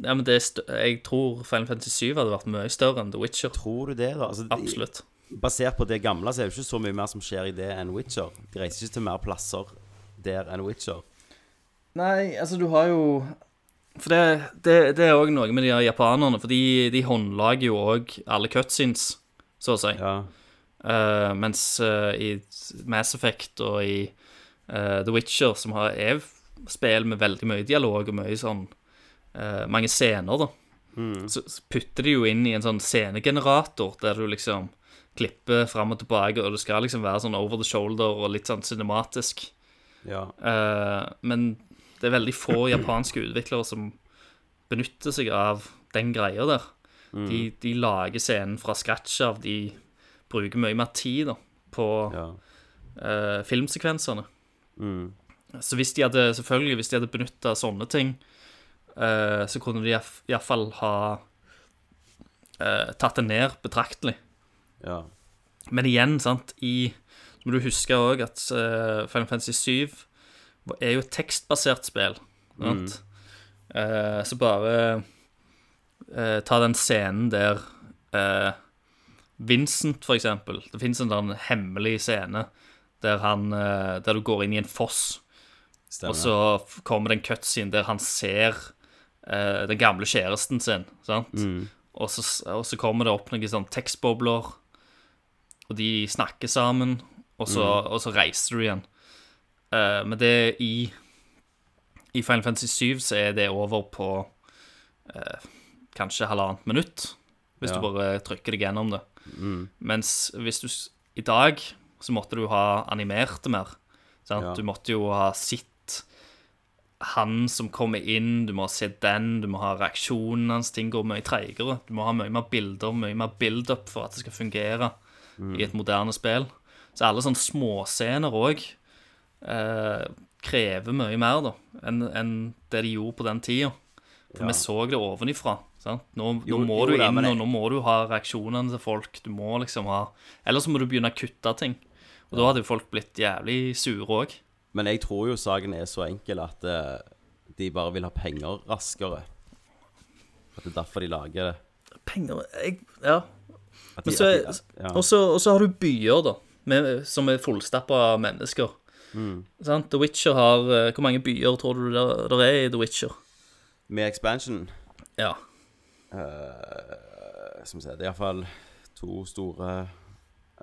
Speaker 7: Ja, men det er stø jeg tror Final Fantasy 7 hadde vært mye større enn The Witcher.
Speaker 6: Tror du det, da? Altså, de-
Speaker 7: Absolutt.
Speaker 6: Basert på det gamle, så er det jo ikke så mye mer som skjer i det enn Witcher. De reiser ikke til mer plasser der enn Witcher.
Speaker 7: Nei, altså, du har jo For det, det, det er òg noe med de her japanerne, for de, de håndlager jo òg alle cutscenes, så å si.
Speaker 6: Ja.
Speaker 7: Eh, mens eh, i Mass Effect og i eh, The Witcher, som har er spill med veldig mye dialog og mye sånn eh, mange scener, da, så så putter de jo inn i en sånn scenegenerator der du liksom klipper fram og tilbake, og det skal liksom være sånn over the shoulder og litt sånn cinematisk.
Speaker 6: ja.
Speaker 7: Eh, men det er veldig få japanske utviklere som benytter seg av den greia der. De, de lager scenen fra scratch av. De bruker mye mer tid da, på
Speaker 6: ja.
Speaker 7: eh, filmsekvensene.
Speaker 6: Mm.
Speaker 7: Så hvis de hadde, selvfølgelig, hvis de hadde benytta sånne ting, eh, så kunne de iallfall ha eh, tatt det ned betraktelig.
Speaker 6: ja.
Speaker 7: Men igjen, sant, i Så må du huske òg at eh, Final Fantasy 7 er jo et tekstbasert spill. Sant? Eh, så bare eh, ta den scenen der eh, Vincent, for eksempel. Det fins en eller annen hemmelig scene der, han, eh, der du går inn i en foss,
Speaker 6: Stemmer.
Speaker 7: og så f- kommer det en cutscene der han ser eh, den gamle kjæresten sin. sant?
Speaker 6: mm.
Speaker 7: Og så, og så kommer det opp noen sånn tekstbobler, og de snakker sammen, og så,
Speaker 6: Mm.
Speaker 7: og så reiser du igjen. Eh, men det er i I Final Fantasy 7 så er det over på eh, kanskje halvannet minutt, hvis
Speaker 6: Ja. Mm.
Speaker 7: du bare trykker deg gjennom det. Mens hvis du s- I dag så måtte du ha animert det mer. Sant?
Speaker 6: Ja.
Speaker 7: Du måtte jo ha sett han som kommer inn, du må se den, du må ha reaksjonen hans, ting går mye treigere. Du må ha mye mer bilder, mye mer build-up for at det skal fungere
Speaker 6: Mm.
Speaker 7: i et moderne spill. Så alle sånne småscener òg eh, krever mye mer da, enn enn det de gjorde på den tida. For
Speaker 6: Ja.
Speaker 7: vi så det ovenifra. Sant? Nå, nå
Speaker 6: Jo,
Speaker 7: må
Speaker 6: jo
Speaker 7: du
Speaker 6: da,
Speaker 7: inn,
Speaker 6: men
Speaker 7: og
Speaker 6: jeg-
Speaker 7: nå må du ha reaksjonene til folk. Du må liksom ha Ellers må du begynne å kutte ting. Og da hadde jo folk blitt jævlig sure òg.
Speaker 6: Men jeg tror jo saken er så enkel at eh, de bare vil ha penger raskere. At det er derfor de lager det.
Speaker 7: Penger jeg, Ja.
Speaker 6: At de,
Speaker 7: Men så,
Speaker 6: at de- ja.
Speaker 7: og så- og så har du byer, da, med, som er fullstappa av mennesker. Sant? The Witcher har eh, Hvor mange byer tror du der, der er i The Witcher?
Speaker 6: Med expansion
Speaker 7: Ja.
Speaker 6: eh, Som sier, det er iallfall to store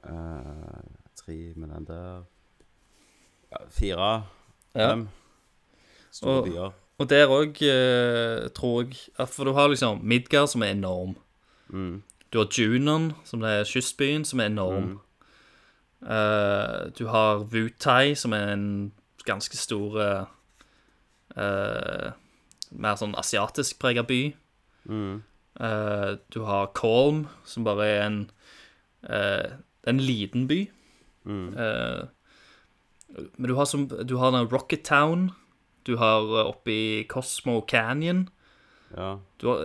Speaker 6: eh, Tre med den der ja, Fire, fem store
Speaker 7: Og-
Speaker 6: byer.
Speaker 7: Og der òg eh, tror jeg at For du har liksom Midgard, som er enorm. Du har Junon, som det er kystbyen, som er enorm. Eh, du har Wutai, som er en ganske stor eh, eh, Mer sånn asiatisk prega by. Eh, du har Kolm, som bare er en eh, En liten by. Eh, men du har, som, du har den Rocket Town. Du har eh, oppe i Cosmo Canyon.
Speaker 6: Ja.
Speaker 7: Du har,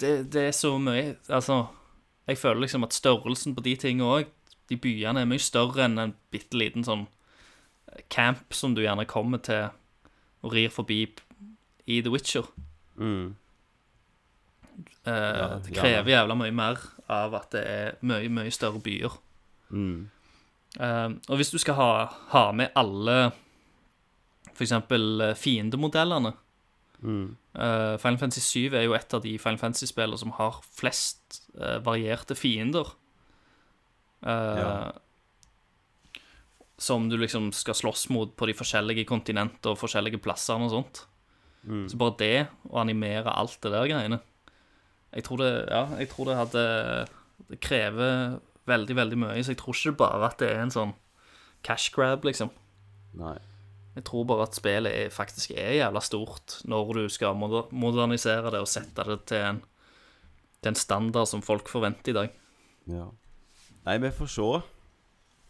Speaker 7: det, det er så mye Altså, jeg føler liksom at størrelsen på de tingene òg De byene er mye større enn en bitte liten sånn camp som du gjerne kommer til og rir forbi p- i The Witcher.
Speaker 6: Mm.
Speaker 7: Eh, det
Speaker 6: gjerne.
Speaker 7: krever jævla mye mer av at det er mye, mye større byer.
Speaker 6: Mm.
Speaker 7: Eh, og hvis du skal ha, ha med alle f.eks. fiendemodellene
Speaker 6: Mm.
Speaker 7: eh, Final Fantasy 7 er jo et av de Final Fantasy-spillene som har flest eh, varierte fiender. Eh,
Speaker 6: Ja.
Speaker 7: Som du liksom skal slåss mot på de forskjellige kontinenter og forskjellige plasser og sånt.
Speaker 6: Mm.
Speaker 7: Så bare det, å animere alt det der greiene Jeg tror det, ja, jeg tror det hadde Det krever veldig, veldig mye, så jeg tror ikke bare at det er en sånn cash grab, liksom.
Speaker 6: Nei.
Speaker 7: Jeg tror bare at spillet er, faktisk er jævla stort når du skal moder modernisere det og sette det til en, til en standard som folk forventer i dag.
Speaker 6: Ja. Nei, vi får se.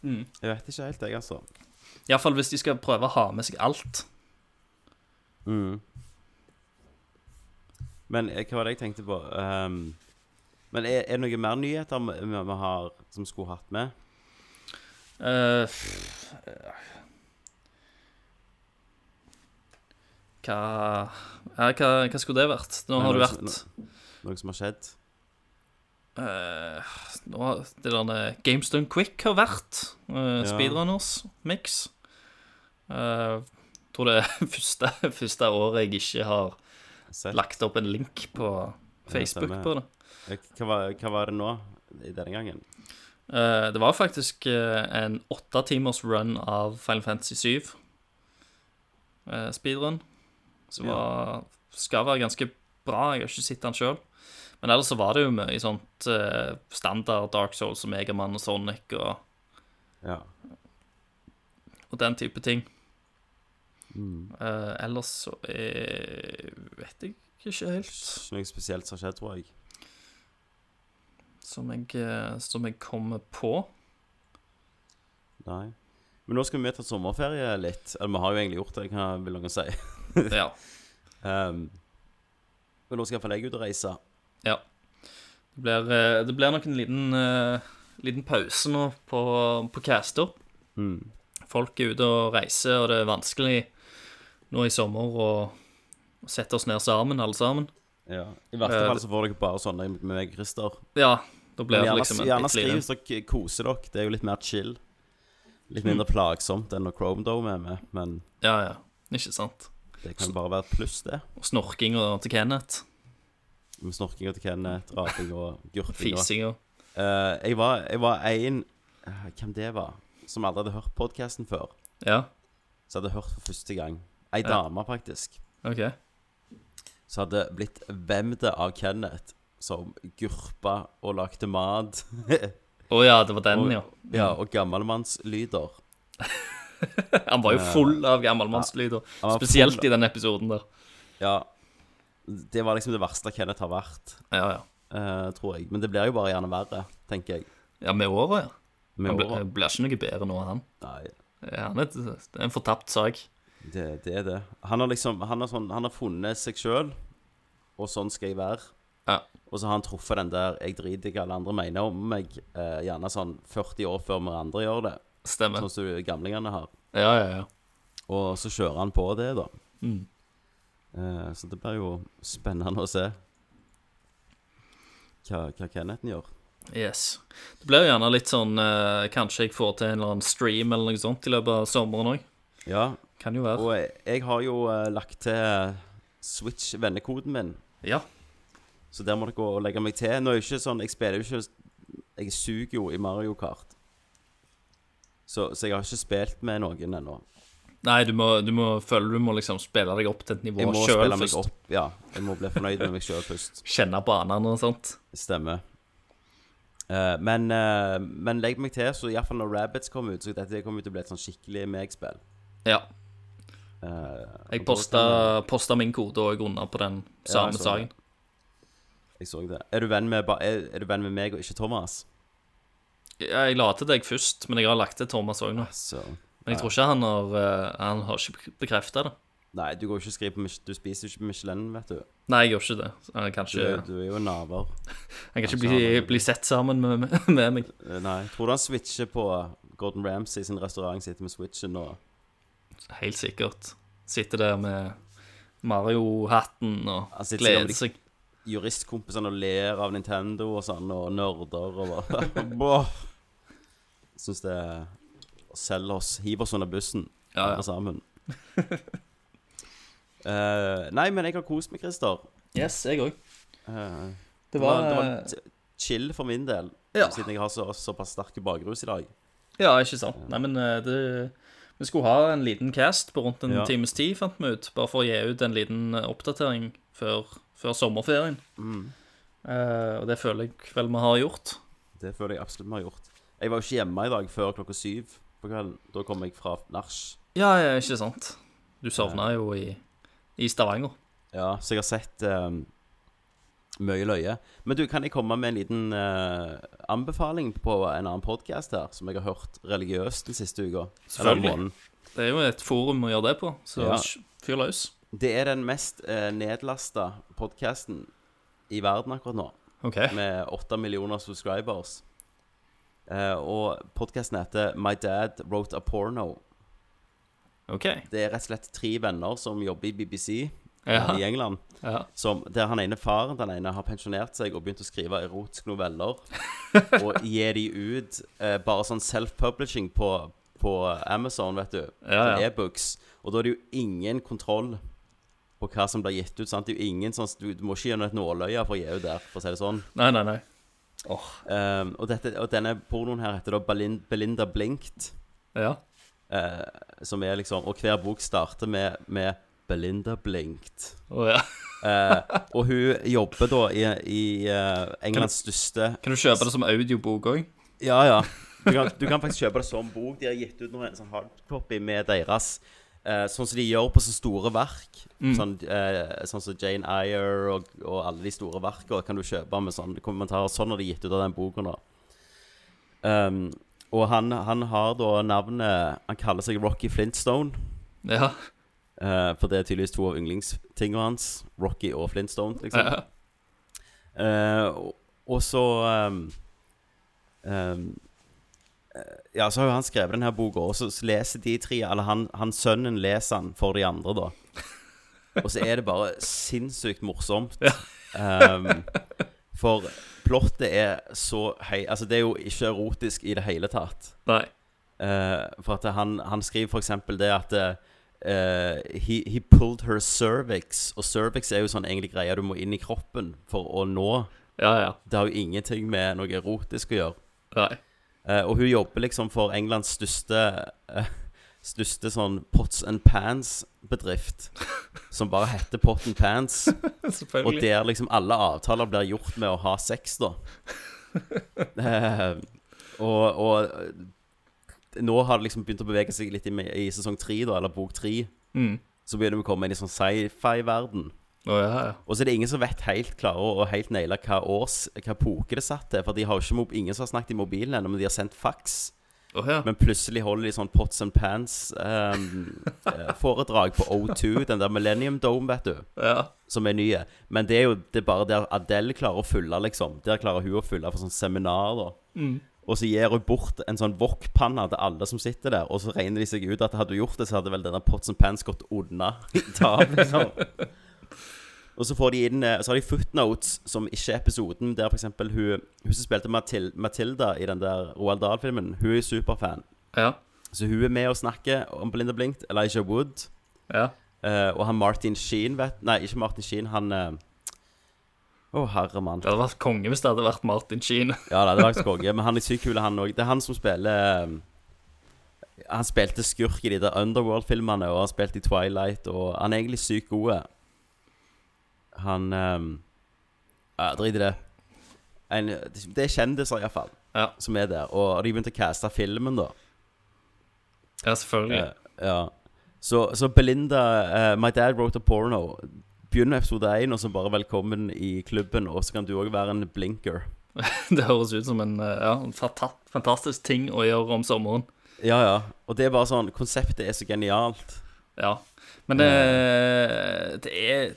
Speaker 6: Jeg vet ikke helt, jeg, altså.
Speaker 7: Iallfall hvis de skal prøve å ha med seg alt.
Speaker 6: Mm. Men eh, hva var det jeg tenkte på? Ehm, men er, er det noen mer nyheter vi, vi- vi har som skulle hatt med?
Speaker 7: Eh, pff, eh. hva, ja, hva Hva skulle det vært? Nå
Speaker 6: Nei,
Speaker 7: har du
Speaker 6: nå er det
Speaker 7: vært
Speaker 6: Noe som har skjedd?
Speaker 7: eh, nå, har- Det der Games Done Quick har vært. eh,
Speaker 6: Ja.
Speaker 7: Speedrunners mix. Eh, tror det er første, første året jeg ikke har
Speaker 6: Sett?
Speaker 7: lagt opp en link på Facebook
Speaker 6: stemmer.
Speaker 7: på det.
Speaker 6: Eh, Hva, var- hva var det nå? I denne gangen?
Speaker 7: Eh, det var faktisk eh, en åtte timers run av Final Fantasy 7. eh, speedrun. Som
Speaker 6: Ja.
Speaker 7: var, skal være ganske bra. Jeg har ikke sett den sjøl. Men ellers så var det jo mye sånt eh, standard Dark Souls som Megaman og Sonic og,
Speaker 6: Ja.
Speaker 7: og den type ting.
Speaker 6: Mm.
Speaker 7: Eh, ellers så eh, vet jeg ikke helt
Speaker 6: Ikke noe spesielt som har skjedd, tror jeg.
Speaker 7: som jeg, eh, som jeg kommer på.
Speaker 6: Nei. Men nå skal vi ta sommerferie litt. Eller vi har jo egentlig gjort det, kan vil noen si.
Speaker 7: Ja.
Speaker 6: Ehm, men nå skal iallfall jeg ut og reise.
Speaker 7: Ja. Det blir, eh, det blir nok en liten, eh, liten pause nå på, på caster.
Speaker 6: Mm.
Speaker 7: Folk er ute og reiser, og det er vanskelig nå i sommer å å sette oss ned sammen, alle sammen.
Speaker 6: Ja. I verste
Speaker 7: Eh,
Speaker 6: fall så får dere bare sånne med meg, Christer.
Speaker 7: Ja, da blir
Speaker 6: Men
Speaker 7: det
Speaker 6: Gjerne,
Speaker 7: liksom en
Speaker 6: gjerne
Speaker 7: bitte
Speaker 6: skriv
Speaker 7: liten
Speaker 6: hvis dere koser dere. Det er jo litt mer chill. Litt mindre
Speaker 7: Mm.
Speaker 6: plagsomt enn når Chrome Dome er med, men
Speaker 7: Ja, ja. Ikke sant.
Speaker 6: det kan bare være et pluss, det.
Speaker 7: Og snorking og til Kenneth.
Speaker 6: Med snorkinga til Kenneth, raping og gurpinga.
Speaker 7: Fising og
Speaker 6: Eh, jeg var, jeg var en eh, Hvem det var? Som aldri hadde hørt podkasten før.
Speaker 7: Ja,
Speaker 6: Så hadde jeg hørt for første gang. Ei
Speaker 7: Ja.
Speaker 6: dame, faktisk.
Speaker 7: OK.
Speaker 6: Som hadde blitt vemde av Kenneth, som gurpa og lagde mat.
Speaker 7: Å ja, det var den,
Speaker 6: Og-
Speaker 7: ja.
Speaker 6: ja,
Speaker 7: Mm.
Speaker 6: og gammelmannslyder.
Speaker 7: Han var jo full av gammelmannslyder.
Speaker 6: Eh, Han var
Speaker 7: Spesielt
Speaker 6: full-
Speaker 7: i den episoden der.
Speaker 6: Ja. Det var liksom det verste Kenneth har vært,
Speaker 7: Ja, ja.
Speaker 6: eh, tror jeg. Men det blir jo bare gjerne verre, tenker jeg.
Speaker 7: Ja, Med året, ja.
Speaker 6: Med
Speaker 7: Han ble,
Speaker 6: åra.
Speaker 7: blir ikke noe bedre nå, han.
Speaker 6: Nei,
Speaker 7: Ja, han er et- det er en fortapt sak.
Speaker 6: det, det er det. Han har liksom Han har, sånn, han har funnet seg sjøl, og sånn skal jeg være.
Speaker 7: Ja.
Speaker 6: Og så har han truffet den der 'jeg driter i hva alle andre mener om meg', eh, gjerne sånn 40 år før vi andre gjør det,
Speaker 7: Stemmer.
Speaker 6: sånn som de gamlingene har.
Speaker 7: Ja, ja, Mm. ja.
Speaker 6: Og så kjører han på det, da. Eh, så det blir jo spennende å se hva, hva Kennethen gjør.
Speaker 7: Yes. Det blir jo gjerne litt sånn eh, Kanskje jeg får til en eller annen stream eller noe sånt i løpet av sommeren òg.
Speaker 6: Ja,
Speaker 7: Kan jo være.
Speaker 6: og jeg, jeg har jo eh, lagt til Switch-vennekoden min.
Speaker 7: Ja.
Speaker 6: Så der må dere gå og legge meg til. Nå er jeg ikke sånn, jeg spiller jo ikke Jeg suger jo i Mario Kart. Så, så jeg har ikke spilt med noen ennå.
Speaker 7: Nei, du må, du må føle du må liksom spille deg opp til et
Speaker 6: Jeg
Speaker 7: nivå
Speaker 6: må
Speaker 7: sjøl
Speaker 6: spille meg
Speaker 7: først.
Speaker 6: opp. Ja, jeg må bli fornøyd med meg sjøl først.
Speaker 7: Kjenne banene og sånt.
Speaker 6: Stemmer. Eh, men, eh, men legg meg til, så iallfall når Rabbits kommer ut, så dette kommer til å bli et sånn skikkelig meg-spill.
Speaker 7: Ja.
Speaker 6: Eh,
Speaker 7: Jeg
Speaker 6: og da kan
Speaker 7: posta, posta min kode òg under på den
Speaker 6: Ja, jeg
Speaker 7: samme
Speaker 6: så
Speaker 7: saken.
Speaker 6: det. Jeg jeg så det. Er du venn med, ba- er, er du venn med meg og ikke Thomas?
Speaker 7: Jeg la til deg først, men jeg har lagt til Thomas òg nå.
Speaker 6: Så
Speaker 7: Men jeg tror ikke han har eh, Han har ikke bekrefta det.
Speaker 6: Nei, du går jo ikke og skriver på Mich- Du spiser jo ikke på Michelin, vet du.
Speaker 7: Nei, jeg gjør ikke det. Så Han kan
Speaker 6: Du, er- altså,
Speaker 7: ikke,
Speaker 6: du er jo en naver.
Speaker 7: han kan ikke bli, bli sett sammen med, med, med meg.
Speaker 6: Eh, Nei. Tror du han switcher på Gordon Ramsay sin restaurant, sitter med switchen og
Speaker 7: Helt sikkert. Sitter der med Mario-hatten
Speaker 6: Han
Speaker 7: og
Speaker 6: sitter
Speaker 7: gleder
Speaker 6: sikkert
Speaker 7: seg.
Speaker 6: juristkompisene og ler av Nintendo og sånn, og nerder og bare Boah. Syns det Selg oss. Hiv oss under bussen,
Speaker 7: Ja, ja.
Speaker 6: alle sammen. Eh, nei, men jeg har kost meg, Christer.
Speaker 7: Yes, jeg òg.
Speaker 6: Eh,
Speaker 7: Det
Speaker 6: det var, eh, det
Speaker 7: var
Speaker 6: var t- chill for min del,
Speaker 7: Ja.
Speaker 6: siden jeg har så, såpass sterk bakrus i dag.
Speaker 7: Ja, ikke sant. Nei, men eh, det Vi skulle ha en liten cast på rundt en
Speaker 6: Ja.
Speaker 7: times tid, fant vi ut. Bare for å gi ut en liten eh, oppdatering før, før sommerferien.
Speaker 6: Mm.
Speaker 7: Eh, og det føler jeg vel vi har gjort.
Speaker 6: Det føler jeg absolutt vi har gjort. Jeg var jo ikke hjemme i dag før klokka syv. på kvelden. Da kom jeg fra nach.
Speaker 7: Ja, ja, ikke sant. Du sovna jo i, i Stavanger.
Speaker 6: Ja, så jeg har sett um, mye løye. Men du, kan jeg komme med en liten eh, anbefaling på en annen podkast her, som jeg har hørt religiøst den siste uka? Eller
Speaker 7: Selvfølgelig.
Speaker 6: måneden?
Speaker 7: Det er jo et forum å gjøre det på, så
Speaker 6: Ja.
Speaker 7: sj- fyr løs.
Speaker 6: Det er den mest uh, nedlasta podkasten i verden akkurat nå.
Speaker 7: OK.
Speaker 6: med 8 millioner subscribers. Eh, og podkasten heter My Dad Wrote a Porno.
Speaker 7: ok
Speaker 6: Det er rett og slett tre venner som jobber i BBC
Speaker 7: Ja.
Speaker 6: eh, i England.
Speaker 7: ja.
Speaker 6: Som, der han ene faren den ene har pensjonert seg og begynt å skrive erotiske noveller. og gi de ut eh, bare sånn self-publishing på, på Amazon, vet du.
Speaker 7: Ja,
Speaker 6: Sånn
Speaker 7: ja.
Speaker 6: E-books. Og da er det jo ingen kontroll på hva som blir gitt ut. Sant? Det er jo ingen sånn, du, du må ikke gjennom et nåløye for å gi ut der, for å si det sånn.
Speaker 7: Nei, nei, nei.
Speaker 6: Um, og, dette, og denne pornoen her heter da Belin- Belinda Blinkt,
Speaker 7: Ja.
Speaker 6: eh, som er liksom Og hver bok starter med, med Belinda Blinkt.
Speaker 7: Å, ja.
Speaker 6: Eh, og hun jobber da i, i eh, Englands største
Speaker 7: Kan du kjøpe det som audiobok òg?
Speaker 6: Ja, ja. Du kan, du kan faktisk kjøpe det som bok. De har gitt ut noe, en sånn hardcopy med deres eh, Sånn som de gjør på så store verk. Sånn, eh, sånn som Jane Eyre og, og alle de store verkene kan du kjøpe med sånne kommentarer. Sånn har de gitt ut av den boken. da um, Og han, han har da navnet Han kaller seg Rocky Flintstone.
Speaker 7: Ja.
Speaker 6: eh, for det er tydeligvis to av yndlingstingene hans. Rocky og Flintstone. liksom
Speaker 7: ja.
Speaker 6: Eh, og- og så ehm, ehm, eh, Ja, så har jo han skrevet denne boka, og så, så leser de tre Eller han, han sønnen leser han for de andre, da. Og så er det bare sinnssykt morsomt. Ehm, for plottet er så høy Altså, det er jo ikke erotisk i det hele tatt.
Speaker 7: Nei.
Speaker 6: Eh, for at han, han skriver for eksempel det at eh, he, he pulled her cervix. Og cervix er jo sånn egentlig greia du må inn i kroppen for å nå.
Speaker 7: Ja, ja.
Speaker 6: Det har jo ingenting med noe erotisk å gjøre.
Speaker 7: Nei.
Speaker 6: Eh, og hun jobber liksom for Englands største eh, Største sånn pots and pans-bedrift. Som bare heter Pot and Pans. Og
Speaker 7: Selvfølgelig.
Speaker 6: der liksom alle avtaler blir gjort med å ha sex, da. Eh, og, og nå har det liksom begynt å bevege seg litt i, i sesong tre, da, eller bok tre.
Speaker 7: Mm.
Speaker 6: Så begynner vi å komme inn i sånn sci-fi-verden.
Speaker 7: Å, ja, ja.
Speaker 6: Og så er det ingen som vet helt klarer å helt naile hva års, hva poke det satt til. For de har jo ikke, mob- ingen som har snakket i mobilen ennå, men de har sendt faks.
Speaker 7: Å, ja.
Speaker 6: Men plutselig holder de sånn Pots and Pants-foredrag på O2, den der Millennium Dome, vet du
Speaker 7: ja.
Speaker 6: som er nye. Men det er jo det er bare der Adele klarer å fylle, liksom. Der klarer hun å fylle for sånn seminar, da. Og så gir hun bort en sånn wok-panne til alle som sitter der, og så regner de seg ut at hadde hun gjort det, så hadde vel denne Pots and Pans gått unna i dag, liksom. Og så, får de inn, eh, så har de footnotes, som ikke er episoden, der f.eks. hun, hun som spilte Matil Matilda i den der Roald Dahl-filmen, hun er superfan.
Speaker 7: Ja.
Speaker 6: Så hun er med og snakker om Blinda Blinkt, Elijah Wood.
Speaker 7: Ja.
Speaker 6: Eh, og han Martin Sheen vet Nei, ikke Martin Sheen, han eh, Å, herre mann.
Speaker 7: Det hadde vært konge hvis det hadde vært Martin Sheen.
Speaker 6: Ja da, det var faktisk konge. Men han er sykt kul, han òg. Det er han som spiller eh, Han spilte skurk i de der Underworld-filmene, og han spilte i Twilight, og han er egentlig sykt god. Han eh, Ja, drit i det. En, det er kjendiser, iallfall,
Speaker 7: Ja.
Speaker 6: som er der. Og de begynte å caste filmen, da.
Speaker 7: Ja, selvfølgelig.
Speaker 6: Eh, ja. Så, så Belinda, eh, My Dad Wrote a Porno. Begynn med episode 1, og så bare velkommen i klubben. Og så kan du òg være en blinker.
Speaker 7: Det høres ut som en, eh, ja, en fanta- fantastisk ting å gjøre om sommeren.
Speaker 6: Ja, ja. Og det er bare sånn Konseptet er så genialt.
Speaker 7: Ja. Men eh, det, er,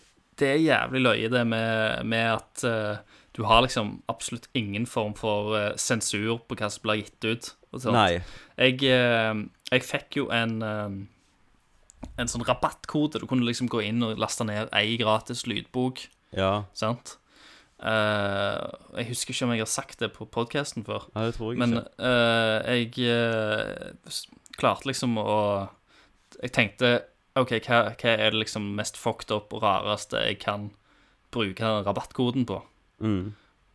Speaker 7: det er jævlig løye, det med, med at eh, du har liksom absolutt ingen form for eh, sensur på hva som blir gitt ut. Og sånt.
Speaker 6: Nei.
Speaker 7: Jeg, eh, jeg fikk jo en eh, En sånn rabattkode. Du kunne liksom gå inn og laste ned ei gratis lydbok.
Speaker 6: Ja.
Speaker 7: Sant? Eh, jeg husker ikke om jeg har sagt det på podkasten før.
Speaker 6: Nei, det tror jeg
Speaker 7: Men
Speaker 6: ikke.
Speaker 7: eh, jeg eh, s- klarte liksom å Jeg tenkte OK, hva, hva er det liksom mest fucked up og rareste jeg kan bruke den rabattkoden på?
Speaker 6: Mm.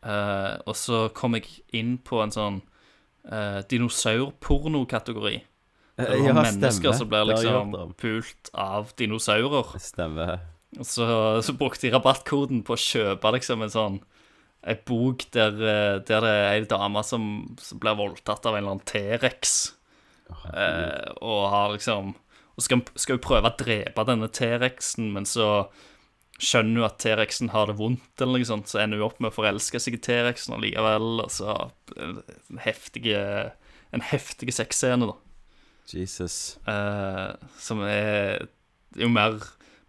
Speaker 7: Eh, og så kom jeg inn på en sånn uh, dinosaurpornokategori.
Speaker 6: Eh,
Speaker 7: Det var
Speaker 6: ja,
Speaker 7: mennesker som
Speaker 6: Det
Speaker 7: ble
Speaker 6: har jeg
Speaker 7: liksom
Speaker 6: hørt om.
Speaker 7: pult av dinosaurer.
Speaker 6: Stemmer.
Speaker 7: Og så, så brukte de rabattkoden på å kjøpe liksom en sånn En bok der, eh, der det er ei dame som, som blir voldtatt av en eller annen T-rex. Eh, og har liksom Og skal, skal jo prøve å drepe denne T-rexen, men så skjønner hun at T-rexen har det vondt, eller noe sånt, så ender hun opp med å forelske seg i T-rexen allikevel. Og så eh, en heftig En heftig sexscene, da.
Speaker 6: Jesus.
Speaker 7: Eh, som er jo mer,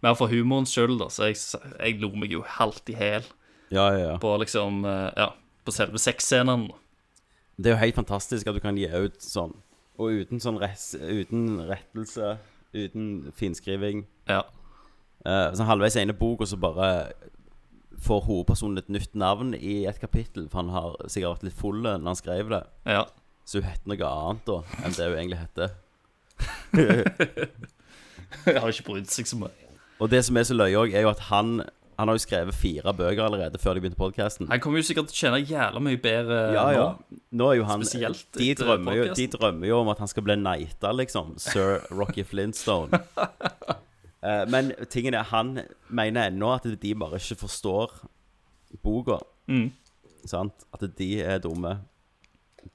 Speaker 7: mer for humorens skyld, da. Så jeg, jeg lo meg jo halvt i hæl
Speaker 6: Ja, ja, ja.
Speaker 7: på liksom eh, Ja, på selve sexscenen. da.
Speaker 6: Det er jo helt fantastisk at du kan gi ut sånn, og uten sånn res, uten rettelse, uten finskriving.
Speaker 7: Ja.
Speaker 6: Eh, sånn halvveis inn i bok, og så bare får hovedpersonen et nytt navn i et kapittel, for han har sikkert vært litt full når han skrev det.
Speaker 7: ja.
Speaker 6: Så hun heter noe annet da, enn det hun egentlig heter.
Speaker 7: Jeg har ikke brydd seg så mye.
Speaker 6: Og det som er så løye òg, er jo at han Han har jo skrevet fire bøker allerede før de begynte podkasten.
Speaker 7: Han kommer jo sikkert til å tjene jævla mye bedre
Speaker 6: Ja, ja.
Speaker 7: eh, nå.
Speaker 6: Nå er jo han
Speaker 7: Spesielt
Speaker 6: de
Speaker 7: etter
Speaker 6: drømmer, jo, de
Speaker 7: podcasten.
Speaker 6: drømmer jo om at han skal bli knighta, liksom. Sir Rocky Flintstone. Eh, Men tingen er, han mener ennå at de bare ikke forstår boka.
Speaker 7: Mm.
Speaker 6: Sant? At de er dumme.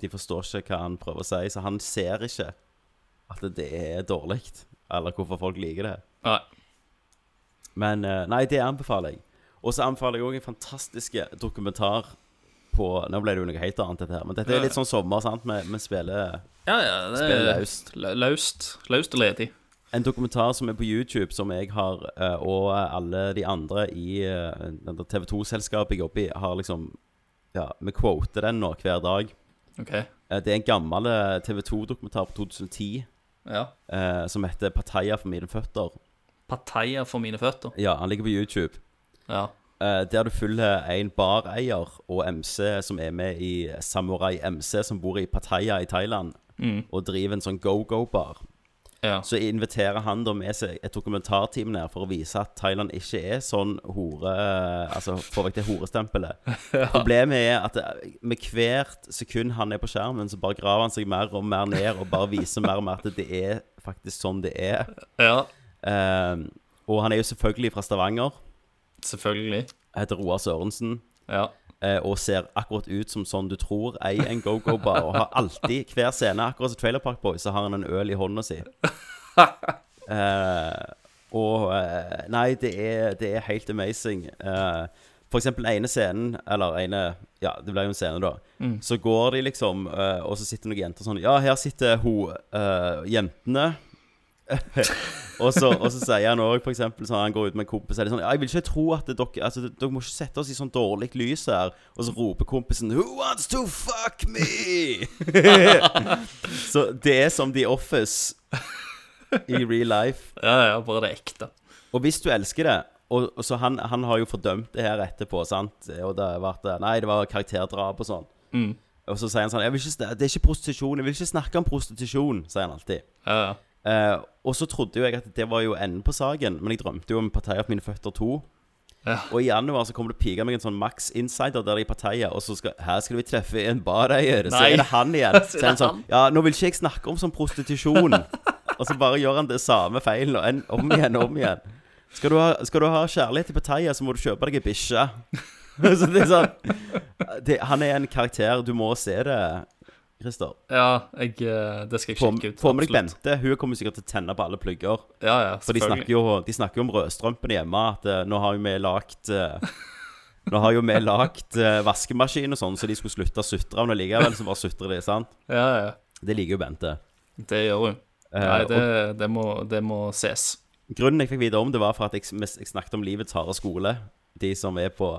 Speaker 6: De forstår ikke hva han prøver å si, så han ser ikke at det er dårlig, eller hvorfor folk liker det.
Speaker 7: Nei.
Speaker 6: Men eh, nei, det anbefaler jeg. Og så anbefaler jeg òg en fantastisk eh, dokumentar på Nå ble det jo noe helt annet, dette her, men dette
Speaker 7: Ja,
Speaker 6: er
Speaker 7: ja.
Speaker 6: litt sånn sommer, sant? Vi, vi spiller
Speaker 7: Ja, ja, det er
Speaker 6: Spiller løst.
Speaker 7: lø- Løst, løst og ledig.
Speaker 6: en dokumentar som er på YouTube, som jeg har, eh, og alle de andre i eh, TV 2-selskapet jeg jobber i, har liksom Ja, vi quoter den nå hver dag.
Speaker 7: OK.
Speaker 6: Eh, Det er en gammel TV 2-dokumentar på 2010
Speaker 7: Ja.
Speaker 6: eh, som heter 'Pattaya for mine føtter'.
Speaker 7: Pattaya for mine føtter.
Speaker 6: Ja, han ligger på YouTube.
Speaker 7: Ja.
Speaker 6: Eh, Der du følger en bareier og MC som er med i Samurai MC, som bor i Pattaya i Thailand, og driver en sånn go-go-bar.
Speaker 7: ja.
Speaker 6: Så inviterer han da med seg et dokumentarteam ned for å vise at Thailand ikke er sånn hore... Altså, få vekk det horestempelet. Problemet er at det- med hvert sekund han er på skjermen, så bare graver han seg mer og mer ned, og bare viser mer og mer at det er faktisk sånn det er.
Speaker 7: ja.
Speaker 6: Eh, og han er jo selvfølgelig fra Stavanger,
Speaker 7: Selvfølgelig.
Speaker 6: heter Roar Sørensen.
Speaker 7: Ja.
Speaker 6: eh, og ser akkurat ut som sånn du tror ei en go-go-bar. Og har alltid, hver scene, akkurat som Trailer Park Boys, så har han en øl i hånda si. Eh, og eh, Nei, det er, det er helt amazing. Eh, for eksempel den ene scenen, eller ene Ja, det ble jo en scene, da. Så går de liksom, eh, og så sitter noen jenter sånn Ja, her sitter hun eh, jentene. og, så, og så sier han òg, f.eks. sånn han går ut med en kompis og er det sånn, «Ja, 'Jeg vil ikke tro at dere altså, Dere må ikke sette oss i sånn dårlig lys her.' Og så roper kompisen 'Who wants to fuck me?' så det er som The Office i real life.
Speaker 7: ja, ja, bare det ekte.
Speaker 6: Og hvis du elsker det og, og så han, han har jo fordømt det her etterpå, sant? Og det har vært eh, Nei, det var karakterdrap og sånn. Og så sier han sånn jeg vil ikke, sn- 'Det er ikke prostitusjon. Jeg vil ikke snakke om prostitusjon', sier han alltid.
Speaker 7: Ja, ja.
Speaker 6: Eh, og så trodde jo jeg at det var jo enden på saken, men jeg drømte jo om Pattaya på mine føtter 2.
Speaker 7: Ja.
Speaker 6: Og i januar så kommer det pika meg en sånn Max Insider der i Pattaya, og så skal Her skal vi treffe en bareier. Så
Speaker 7: Nei.
Speaker 6: er det han igjen.
Speaker 7: Så
Speaker 6: Så
Speaker 7: er
Speaker 6: er han
Speaker 7: det
Speaker 6: sånn
Speaker 7: han.
Speaker 6: Ja, nå vil ikke jeg snakke om sånn prostitusjon. og så bare gjør han det samme feilen og en, om igjen og om igjen. Skal du, ha, skal du ha kjærlighet til Pattaya, så må du kjøpe deg ei bikkje. så det er sånn det, Han er en karakter. Du må se det, Christer.
Speaker 7: ja jeg, eh, det skal jeg
Speaker 6: Få
Speaker 7: sjekke ut.
Speaker 6: få med deg
Speaker 7: absolutt.
Speaker 6: Bente. Hun kommer sikkert til å tenne på alle plugger.
Speaker 7: Ja, ja,
Speaker 6: For de snakker
Speaker 7: selvfølgelig.
Speaker 6: jo, de snakker jo om rødstrømpene hjemme, at eh, nå har jo vi lagt eh, Nå har jo vi lagt eh, vaskemaskin og sånn, så de skulle slutte å sutre. Men likevel så bare sutrer de, sant?
Speaker 7: Ja, ja.
Speaker 6: Det liker jo Bente.
Speaker 7: Det gjør hun.
Speaker 6: Eh,
Speaker 7: Nei, det, det, må, det må ses.
Speaker 6: og grunnen jeg fikk vite om det, var for at jeg, jeg snakket om livets harde skole. De som er på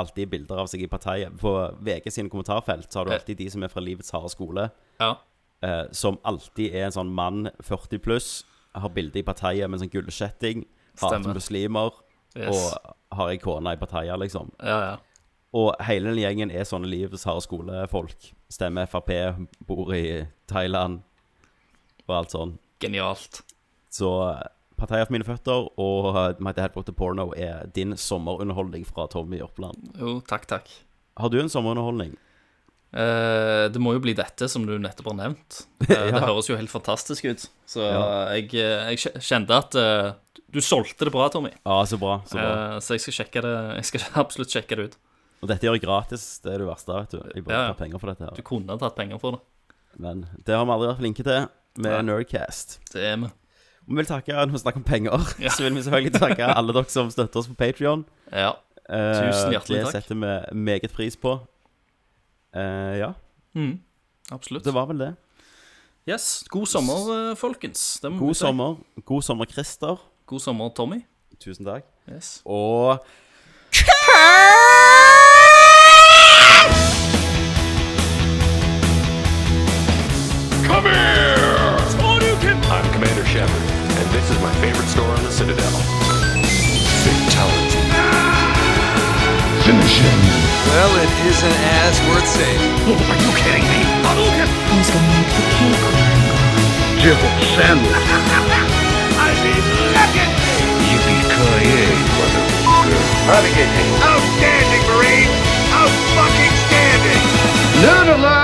Speaker 6: alltid bilder av seg i partiet. På VG sine kommentarfelt så har du alltid de som er fra livets harde skole.
Speaker 7: Ja.
Speaker 6: eh, som alltid er en sånn mann 40 pluss, har bilde i partiet med en sånn gullskjetting, hater
Speaker 7: Stemmer.
Speaker 6: muslimer
Speaker 7: Yes.
Speaker 6: og har ei kone i partiet, liksom.
Speaker 7: Ja, ja.
Speaker 6: Og hele den gjengen er sånne livets harde skolefolk. Stemmer Frp, bor i Thailand og alt sånn.
Speaker 7: Genialt.
Speaker 6: Så Partiet for mine føtter og eh, My Dad Bought a Porno er din sommerunderholdning fra Tommy Jørpeland.
Speaker 7: Jo, takk, takk.
Speaker 6: Har du en sommerunderholdning?
Speaker 7: Eh, det må jo bli dette som du nettopp har nevnt. Eh, Det høres jo helt fantastisk ut. Så
Speaker 6: Ja.
Speaker 7: jeg, eh, jeg kje- kjente at eh, du solgte det bra, Tommy.
Speaker 6: Ja, så bra. så bra.
Speaker 7: Eh, så jeg skal, sjekke det, jeg skal absolutt sjekke det ut.
Speaker 6: Og dette gjør jeg gratis. Det er det verste, vet du. Jeg bare
Speaker 7: Ja, ja.
Speaker 6: tar penger for dette
Speaker 7: Du
Speaker 6: her.
Speaker 7: kunne ha tatt penger for det.
Speaker 6: Men det har vi aldri vært flinke til. med
Speaker 7: Nei.
Speaker 6: Nerdcast.
Speaker 7: Det er vi.
Speaker 6: Vi vil takke, når vi snakker om penger,
Speaker 7: Ja.
Speaker 6: så vil vi selvfølgelig takke alle dere som støtter oss på Patrion.
Speaker 7: Ja. Tusen hjertelig
Speaker 6: det Det
Speaker 7: takk.
Speaker 6: setter vi meget pris på. Eh, ja,
Speaker 7: Mm. Absolutt.
Speaker 6: det var vel det.
Speaker 7: Yes. God sommer, eh, folkens. Det må vi
Speaker 6: God
Speaker 7: si.
Speaker 6: sommer. God sommer, Christer.
Speaker 7: God sommer, Tommy.
Speaker 6: Tusen takk.
Speaker 7: Yes.
Speaker 6: Og
Speaker 5: Come here! I'm Commander Shepard, and this is my favorite store on the Citadel. Fatality.
Speaker 3: Well, it isn't as worth saving.
Speaker 5: Oh, Are you kidding me?
Speaker 1: Who's gonna make the cake?
Speaker 5: I mean, look at me! Yippee-ki-yay, motherfucker. Outstanding, Marine! Outfucking-standing! Noodler!